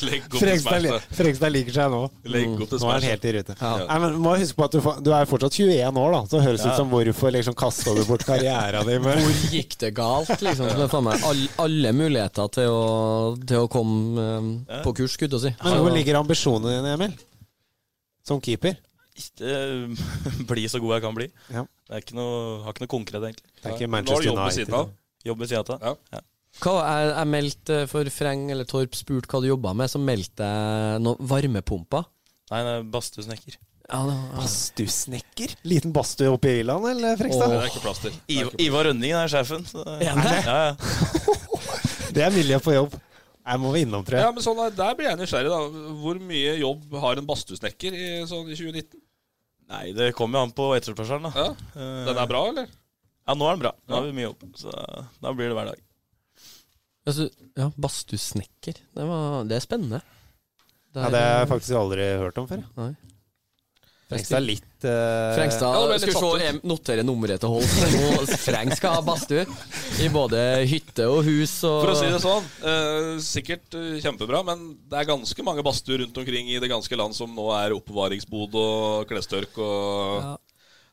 Legg opp til Frekstad li- smerte. Frekstad liker seg nå. Legg opp til Nå er han smerte. helt i rute. Nei, men må huske på at du, fa- du er fortsatt 21 år, da. Så det høres ut som hvorfor liksom kasta du bort karriera di med Hvor gikk det galt, liksom? Så det er faen meg all, alle muligheter til å, til å komme eh, på kurs, skulle jeg til Men å hvor si. ligger ambisjonene dine, Emil? Som keeper? Ikke eh, bli så god jeg kan bli. Ja. Det er ikke noe, har ikke noe konkret, egentlig. Det er Nå har ikke du Manchester jobb ved siden United. av. Jobb ved sida av. Ja. Altså, Hva, jeg, jeg meldte for Freng eller Torp spurt hva du jobba med, så meldte jeg noen varmepumper. Nei, det er badstuesnekker. Ja, det var- Badstuesnekker? Liten badstue oppe i villaen, eller, Nei, Frekstad? Det er ikke plass til. Ivar, Ivar Rønningen er sjefen. Så, er det? Ja, ja. Det er miljø på jobb. Jeg må vi innom, tror Ja, jeg. men sånn, er- Der blir jeg nysgjerrig, da. Hvor mye jobb har en badstuesnekker i, sånn, i 2019? Nei, det kommer jo an på etterspørselen, da. Ja, Eh, Den er bra, eller? ja, nå er den bra. Nå har vi mye jobb. Så da blir det hver dag. altså, ja badstuesnekker. Det, var- det er spennende. Der, Ja, det har jeg faktisk aldri hørt om før. jeg. Nei. Frekstad er litt eh, Frengstad Ja, det ble litt skulle se, jeg noterer nummeret til Holt. Nå Freng skal ha badstue i både hytte og hus. Og, For å si det sånn, eh, sikkert eh, kjempebra, men det er ganske mange badstuer rundt omkring i det ganske land som nå er oppbevaringsbod og klestørk og Ja.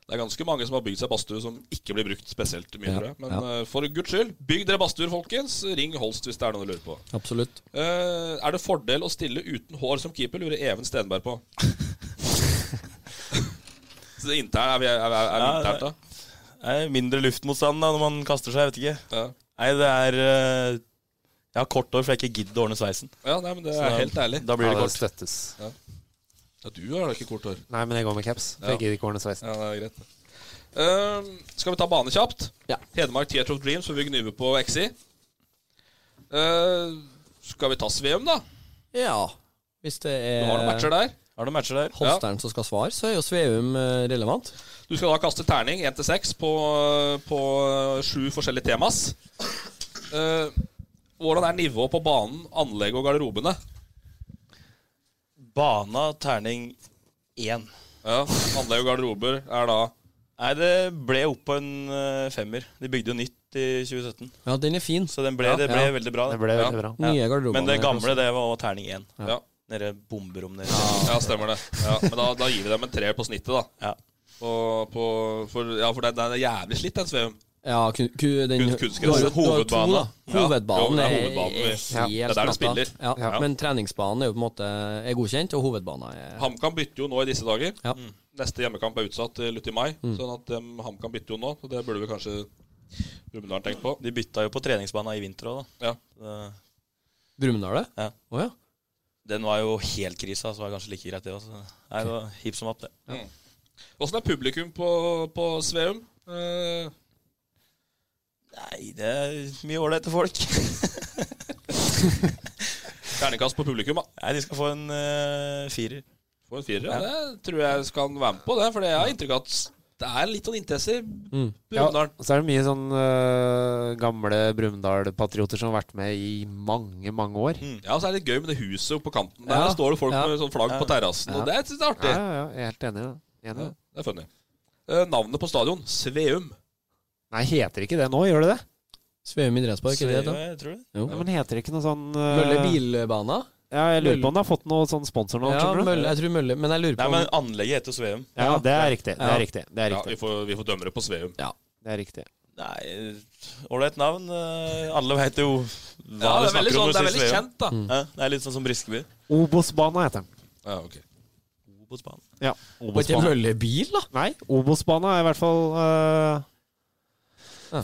Det er ganske mange som har bygd seg badstue som ikke blir brukt spesielt mye, Ja, tror jeg. Men ja. eh, for guds skyld, bygg dere badstuer, folkens. Ring Holst hvis det er noe du lurer på. Absolutt. Eh, er det fordel å stille uten hår som keeper, lurer Even Stenberg på. Så det intern, er vi er, er, er vi Ja, internt, da? Det er mindre luftmotstand da når man kaster seg, jeg vet ikke. Ja. Nei, det er eh, Jeg har kort hår, for jeg ikke gidder å ordne sveisen. ja, nei, men det Så er da- helt ærlig. Da blir ja, det det kort. støttes. Ja, du har da ikke kort hår. Nei, men jeg går med caps. for Jeg gidder ikke ordne sveisen. Ja, det er greit. Ehm, skal vi ta bane kjapt? Ja. Hedmark Theatre of Dreams, for vi gnyver på XI. Ehm, skal vi ta Sveum, da? Ja, hvis det Du er har noen matcher der. Har du matcher der? Holstern som skal svare, så er jo Sveum eh, relevant. Du skal da kaste terning 1 til 6 på, på sju forskjellige temas. Ehm, hvordan er nivået på banen, anlegget og garderobene? Bana terning én. Ja, Anlegg og garderober er da Nei, det ble opp på en eh, femmer. De bygde jo nytt i 2017, Ja, den er fin. så den ble, Ja, det ble ja. veldig bra. Det da. ble Ja. veldig bra. Nye garderobene. Men det gamle, det var terning én. Ja, Nede bomberom nede. ja stemmer det. Ja, men da, da gir vi dem en treer på snittet, da. Ja. På, på, for, ja, for den, den er jævlig slitt, den Sveum. Ja, ku, ku, den, Kunst- kunstgress. du har jo- du har jo to, Hovedbane. da. Ja, Hovedbanen jo, er det er hovedbanen vi- er helt Ja, det er der du natta. spiller. Ja, Ja. Men treningsbanen er jo på en måte er godkjent, og hovedbanen er HamKam bytter jo nå i disse dager. Ja. Mm. Neste hjemmekamp er utsatt til ut i mai. Sånn at um, HamKam bytter jo nå, så det burde vi kanskje Brumunddal tenke på. De bytta jo på treningsbanen i vinter òg, da. Ja. Det- Brumunddal, det? Ja. Å ja. Den var jo helt krisa, så var det kanskje like greit, det òg. Det var hipp som happ, det. Åssen er publikum på, på Sveum? Eh, Nei, det er mye ålreite folk. Terningkast på publikum, da. Nei, de skal få en eh, firer. Får en firer. Ja. Det tror jeg skal være med på, det. For jeg har inntrykk av at det er litt sånn interesser. Mm. Ja, Brumunddal. og så er det mye sånn øh, gamle Brumunddal-patrioter som har vært med i mange, mange år. Ja, og så er det litt gøy med det huset oppe på kanten. Der Ja. står det folk Ja. med sånn flagg på terrassen, og det jeg synes jeg er Ja, artig. ja, ja, jeg er helt enig. Ja. enig. Ja, det er funny. Eh, navnet på stadion, Sveum. Nei, heter ikke det nå? Gjør det det? Sveum idrettspark, er det det? jeg tror det. Ja, men heter det ikke noe sånn øh, Mølle bilbana? Ja, jeg lurer på om det har fått noe sånn sponsor nå. Ja, skjønner du? Mølle, jeg tror Mølle Men jeg lurer på Nei, om men anlegget heter Sveum. Ja, det er riktig. Det Ja. er riktig. Det er Ja, riktig. vi får, vi får dømme det på Sveum. Det er riktig. Nei, ålreit navn. eh, Alle veit jo Ja, hva det de er veldig, snakker sånn, det er om. når de sier veldig Sveum. kjent, da. Ja, det er litt sånn som Briskeby. Obos-bana heter den. Ja, ok. Obos-banen. Ja, Var ikke Obos-bana. Mølle bil, da? Nei, Obos-bana er i hvert fall øh,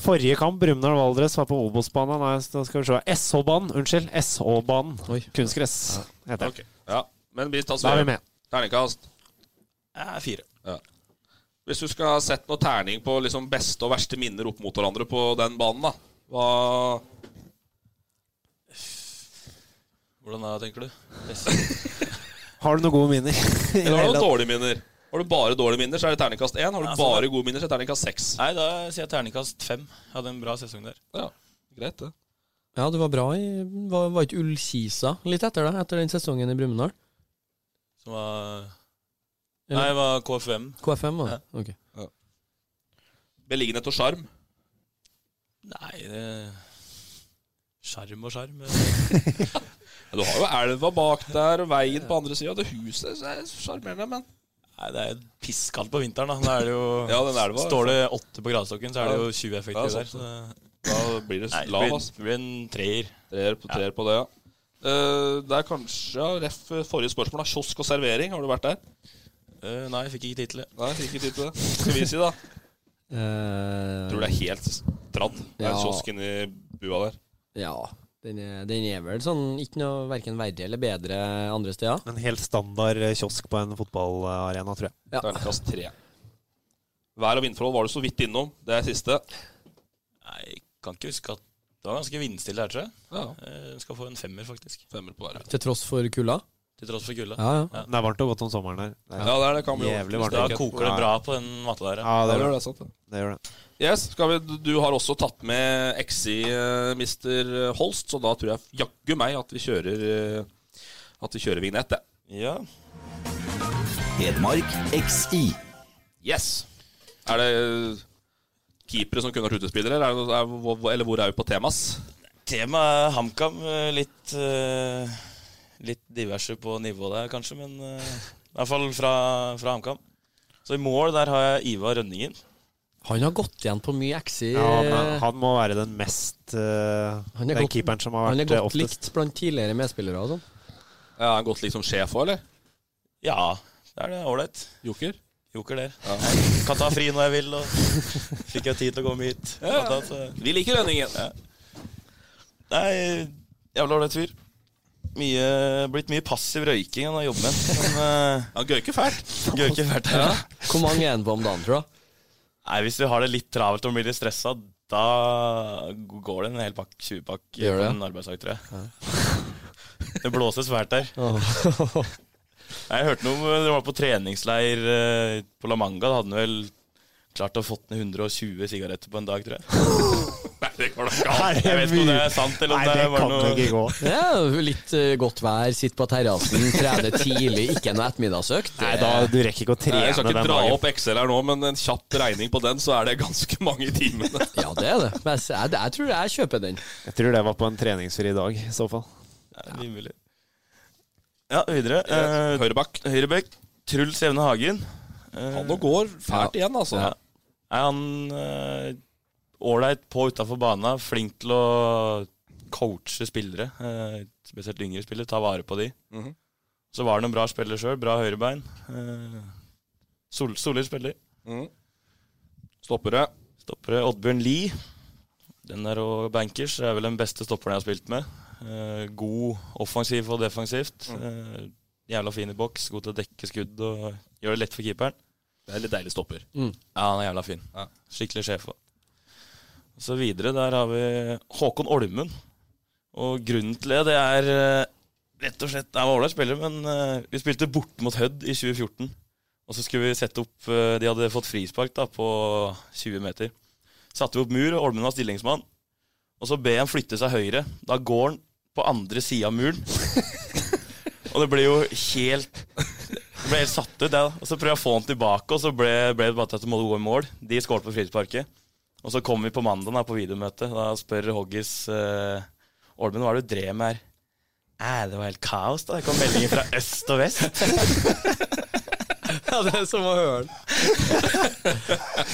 Forrige kamp, Brumunddal-Valdres, var på Obos-bana. Nei, så da skal vi se. SH-banen. Unnskyld. SH-banen. Kunstgress heter den. Ok. Ja, men vi tar Da er vi Sveum. med. Terningkast. Ja, fire. Hvis du skal ha sett noe terning på liksom beste og verste minner opp mot hverandre på den banen, da hva Hvordan er det, tenker du? Har du noen gode minner? I det Eller har hele du tatt? dårlige minner? Har du bare dårlige minner, så er det terningkast én. Har du Ja, sånn, bare gode minner, så er det terningkast seks. Nei, da sier jeg terningkast fem. Jeg hadde en bra sesong der. Ja, greit, det. Ja, det var bra i Var, var ikke Ullkisa litt etter det? Etter den sesongen i Brumunddal? Som var Eller- Nei, det var KFM. KFM, var det? Ok. Beliggenhet og sjarm. Nei, det Sjarm og sjarm. Ja, du har jo elva bak der, og veien på andre sida. Det huset så er sjarmerende, men Nei, det er jo pisskaldt på vinteren, da. Da er det jo Ja, den elva, Står det åtte på gradestokken, så er det jo 20 effekter Ja, altså. sant. der. Så det da blir det Nei, det lav, blir, ass. det blir en treer. Treer på, treer på det, ja. Eh, det er kanskje ja, ref forrige spørsmål, da. Kiosk og servering, har du vært der? Eh, nei, jeg fikk ikke tittelet. Nei, fikk ikke tid til det. Hva Skal vi si, da? Eh, Tror det er helt dradd. Det er en Ja. kiosk inni bua der. Ja. Den er, den er vel sånn ikke noe verken verre eller bedre andre steder. En helt standard eh, kiosk på en fotballarena, tror jeg. Ja. Terningkast tre. Vær og vindforhold var du så vidt innom. Det er siste. Nei, jeg kan ikke huske at Det var ganske vindstille her, tror jeg. Ja, Eh, skal få en femmer, faktisk. Femmer på været. Til tross for kulda. Til tross for Ja, kulda. ja. Ja. Det er varmt og godt om sommeren her. Det er Ja, det er det. Kan bli jævlig ordentlig. varmt. Da ikke? koker det bra på den matta der. Ja, Ja, det Ja. det gjør det. er sant, det. det, gjør det. Yes, skal vi, du- du har også tatt med XI, eh, Mr. Holst, så da tror jeg jaggu meg at vi kjører eh, At vi kjører vignett, det. ja. Hedmark XI. Yes! Er det eh, keepere som kunne vært utespillere, eller, er det noe- er, hvor- hvor- eller hvor er vi på temas? Temaet er HamKam. eh, Litt, eh, litt diverse på nivå der, kanskje, men eh, i hvert fall fra, fra HamKam. Så i mål der har jeg Ivar Rønningen. Han har gått igjen på mye eh, XI. Ja, men han må være den mest eh, Han er Den godt- keeperen som har han er vært eh, godt oftest. likt blant tidligere medspillere og sånn. Ja, er han godt likt som sjef òg, eller? Ja, det er det. Ålreit. Joker? Joker der. Kan ta fri når jeg vil, og fikk jeg tid til å komme hit. Ja. Så- Vi liker Rønningen. Nei, jævla ålreit fyr. Mye, blitt mye passiv røyking han har jobbet med. Men eh, Han gøyker fælt. gøy ikke vært her. Hvor mange er han på om dagen, tror du? Nei, hvis du har det litt travelt og blir litt stressa, da går det en hel pakk 20-pakk på Gjør det? en arbeidsdag, tror jeg. Det blåser svært der. Nei, Jeg hørte noe om det var på treningsleir eh, på La Manga. Da hadde han vel klart å ha fått ned 120 sigaretter på en dag, tror jeg. Nei, det går da ikke Nei, an. det Jeg er vet ikke om det mye. er sant, eller Nei, om det det var kan noe ikke gå. Ja, litt eh, godt vær, sitt på terrassen, trene tidlig, ikke noe ettermiddagsøkt. Nei, da, du rekker ikke å trene Nei, jeg skal den ikke dra dagen. opp Excel her nå, men en kjapp regning på den, så er det ganske mange timene. Ja, det er det. Men jeg, jeg, jeg tror jeg kjøper den. Jeg tror det var på en treningsfri dag, i så fall. Nei, rimelig. Ja, videre. Eh, Høyrebakk. Høyrebekk, Truls Evne Hagen. Eh, Han nå går fælt igjen, altså. Ja. Er han eh, ålreit på utafor banen? Flink til å coache spillere, eh, spesielt yngre spillere. Ta vare på de. Mhm. Så var han en bra spiller sjøl. Bra høyrebein. Eh, sol, solid spiller. Stoppere. Stoppere Oddbjørn Lie. Den er òg bankers. Det er vel den beste stopperen jeg har spilt med. Eh, god offensiv og defensivt. Eh, jævla fin i boks, god til å dekke skudd og gjør det lett for keeperen. Det er litt deilig stopper. Ja, han er jævla fin. Ja. Skikkelig sjef òg. Så videre, der har vi Håkon Olmen. Og grunnen til det, det er eh, rett og slett Det var ålreit spiller, men eh, vi spilte borte mot Hødd i 2014. Og så skulle vi sette opp eh, De hadde fått frispark da på 20 meter. Satte vi opp mur, og Olmen var stillingsmann. Og så ber jeg han flytte seg høyre. Da går han på andre sida av muren. og det ble jo helt Det ble helt satt ut, det. da. Og så prøvde jeg å få han tilbake, og så ble, ble det bare til at du måtte gå i mål. De skåret på frisparket. Og så kom vi på mandag da, på videomøte. Da spør Hoggis eh, Olmen hva er det du drev med her. Æ, det var helt kaos, da. Det kom meldinger fra øst og vest. Ja, det er som å høre den.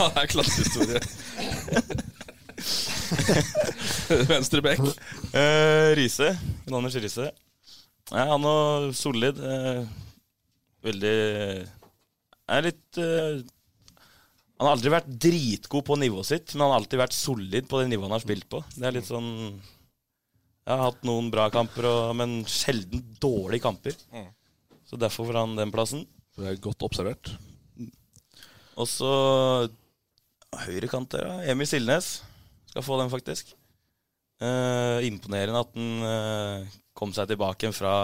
Ja, det er klassehistorie. Venstre bekk. Eh, Riise. Jon Anders Riise. Nei, han er solid. eh, veldig Er litt eh, Han har aldri vært dritgod på nivået sitt, men han har alltid vært solid på det nivået han har spilt på. Det er litt sånn Jeg har hatt noen bra kamper, og, men sjelden dårlige kamper. Så derfor får han den plassen. Det er godt observert. Og så høyrekant der, da. Emil Silnes skal få den, faktisk. Eh, imponerende at han eh, kom seg tilbake igjen fra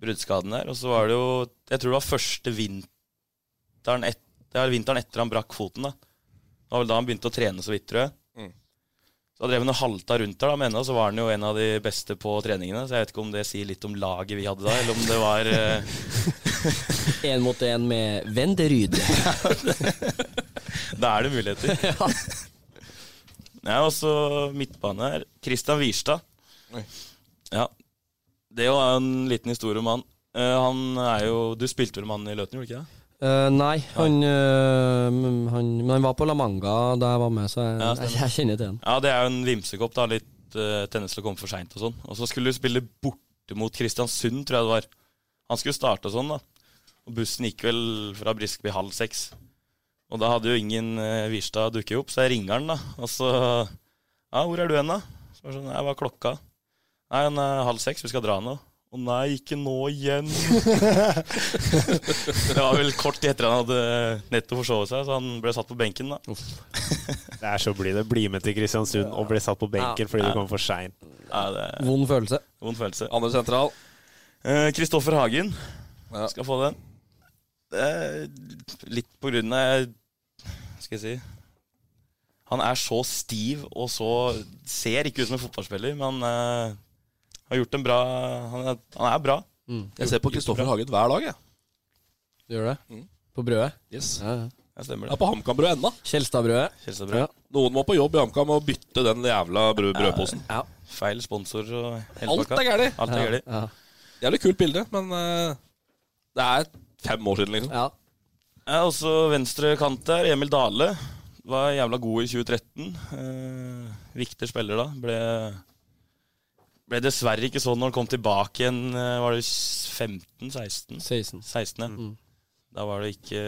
bruddskaden der. Og så var det jo Jeg tror det var første vinteren, et, det var vinteren etter han brakk foten. da Det var vel da han begynte å trene så vidt, tror jeg. Mm. Så da drev han og halta rundt der, da, men ennå så var han jo en av de beste på treningene. Så jeg vet ikke om det sier litt om laget vi hadde da, eller om det var eh, Én mot én med Venderyd. Da er det muligheter. ja. Nei, og så midtbane her. Christian Wierstad. Oi. Ja. Det er jo en liten historie om han. Eh, han er jo Du spilte vel med han i Løten, gjorde du ikke det? Eh, nei, han, eh, men han Men han var på La Manga da jeg var med, så jeg, Ja, jeg, stemmer. jeg kjenner til han. Ja, det er jo en vimsekopp, da. Litt eh, tennis til å komme for seint og sånn. Og så skulle du spille borte mot Kristiansund, tror jeg det var. Han skulle starte og sånn, da. Og bussen gikk vel fra Briskeby halv seks. Og da hadde jo ingen eh, Wirstad dukket opp, så jeg ringer han, da. Og så Ja, hvor er du hen, da? Så var det sånn, Nei, hva er klokka? Nei, han er halv seks, vi skal dra nå. Å nei, ikke nå igjen. det var vel kort etter han hadde nettopp forsovet seg, så han ble satt på benken, da. Det er så blid. Bli med til Kristiansund og bli satt på benken fordi du kom for seint. Ja, det er Vond følelse. vond følelse. Andre sentral. Eh, Kristoffer Hagen Ja. skal få den. Eh, litt på grunn av hva Skal jeg si Han er så stiv og så Ser ikke ut som en fotballspiller, men eh, har gjort en bra Han er, han er bra. Jeg ser på Kristoffer Hagen hver dag, jeg. Du gjør det? På brødet? Yes. Ja, ja. Jeg stemmer Jeg er det. på HamKam-brød ennå. Kjelstadbrødet? Kjelsås bra. Noen må på jobb i HamKam og bytte den jævla brød brødposen. Ja. Feil sponsor og hele Alt pakka. er gærent. Alt er gærent. Ja. Jævlig kult bilde, men eh, det er fem år siden, liksom. ja. Ja, også venstre kant der. Emil Dale var jævla god i 2013. Eh, viktig spiller da. Ble, ble dessverre ikke sånn når han kom tilbake igjen, eh, var det 15-16? 16. 16, ja. Da var det ikke,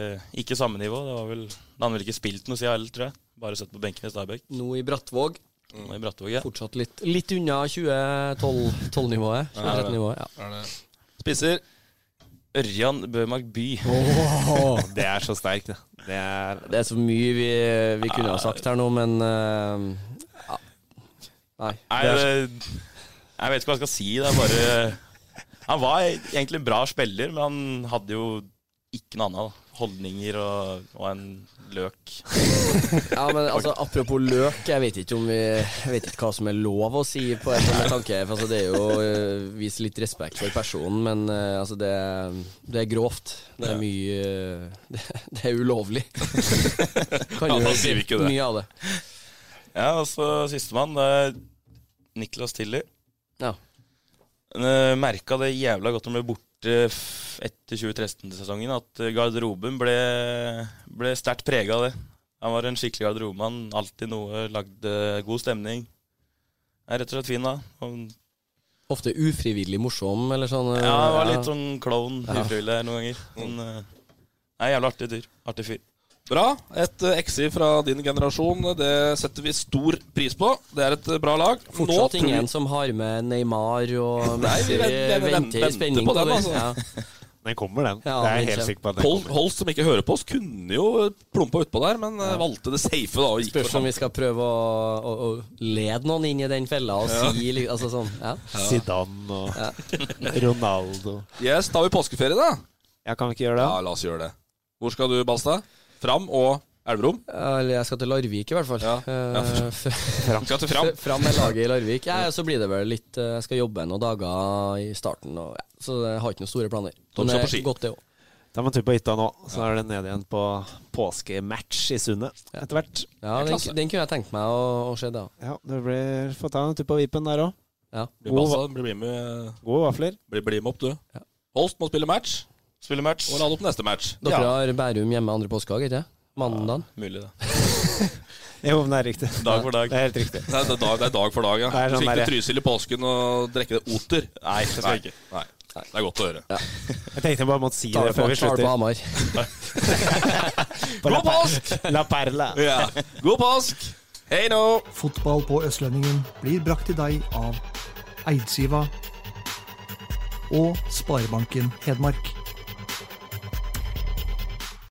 ikke samme nivå. Det var vel, da hadde han vel ikke spilt noe siden heller, tror jeg. Bare sett på benken i Stabæk. Nå i Brattvåg. Og i Brattvåg, ja. Fortsatt litt, litt unna 2012-nivået. 2013-nivået, ja. Spisser. Ørjan Bøhmark By. Det er så sterkt, det. det er, Det er så mye vi, vi kunne ha sagt her nå, men eh, ja. Nei. Nei, det, jeg vet ikke hva jeg skal si. Det er bare Han var egentlig en bra spiller, men han hadde jo ikke noe annet. da. Holdninger og, og en løk. Ja, men altså, apropos løk, jeg vet ikke om vi Jeg vet ikke hva som er lov å si på en sånn tanke. For altså, det er jo uh, vise litt respekt for personen, men eh, altså, det, det er grovt. Det er mye eh, det, det er ulovlig. Kan Ja, jo da sier vi ikke det. Mye av det. Ja, og så sistemann, det er Niklas Tilly. Ja. Merka det jævla godt han ble borte f- etter 2013-sesongen, at eh, garderoben ble, ble sterkt prega av det. Han var en skikkelig garderobemann. Alltid noe, lagde god stemning. Er rett og slett fin, da. Og Ofte ufrivillig morsom, eller sånn. eh, Ja, han var litt sånn klovn ufrivillig her noen ganger. Men eh, nei, jævla artig dyr. Artig fyr. Bra. Et eh, XI fra din generasjon, eh, det setter vi stor pris på. Det er et eh, bra lag. Nå Fortsatt tror vi- ingen som har med Neymar og Nei, vi Messi. venter- venter vi i venter spenning på den, det. altså. Ja. den kommer, den. Ja, det er den jeg helt kommer. sikker på. at den Hol- kommer. Holst, som ikke hører på oss, kunne jo plumpa utpå der, men eh, valgte det safe da og gikk Spørs om for ham. vi skal prøve å, å, å lede noen inn i den fella og si litt altså sånn. Ja. Zidane og Ronaldo. Yes, da har vi påskeferie, da. Ja, kan vi ikke gjøre det? Ja, la oss gjøre det. Hvor skal du, Balstad? Fram og Elverum? Eller jeg skal til Larvik, i hvert fall. Ja. Ja, Eh, Fram. Skal til Fram. Fram med laget i Larvik. Ja, så blir det vel litt eh, Jeg skal jobbe noen dager i starten, og, ja. så jeg har ikke noen store planer. Tom Men skal det på ski. er godt, det òg. Da er man tur på hytta nå. Så er det ned igjen på påskematch i Sundet etter hvert. Ja, Det er den, klasse. den kunne jeg tenkt meg å, å se, da. Ja, det blir Få ta en tur på Vipen der òg. Ja. Blir Balstad blir bli med, Gode vafler. blir bli med opp, du. Holst må spille match. Spille match. Og lade opp neste match. Dere har Bærum hjemme andre påskedag, ikke sant? Mandag. Mulig, det. Jo, men det er riktig. Dag for dag. Det er helt riktig. Det er, det er dag, det er dag for dag, ja. Det er sånn Så ikke der- til Trysil i påsken og drikke det oter. Nei, det skal jeg ikke. Nei. Det er godt å høre. Jeg tenkte jeg bare måtte si Tar det det på, før vi tar det på slutter. Hamar. La God Per- påsk! La Perla. Ja. God påsk! Hei nå! Fotball på Østlendingen blir brakt til deg av Eidsiva og Sparebanken Hedmark.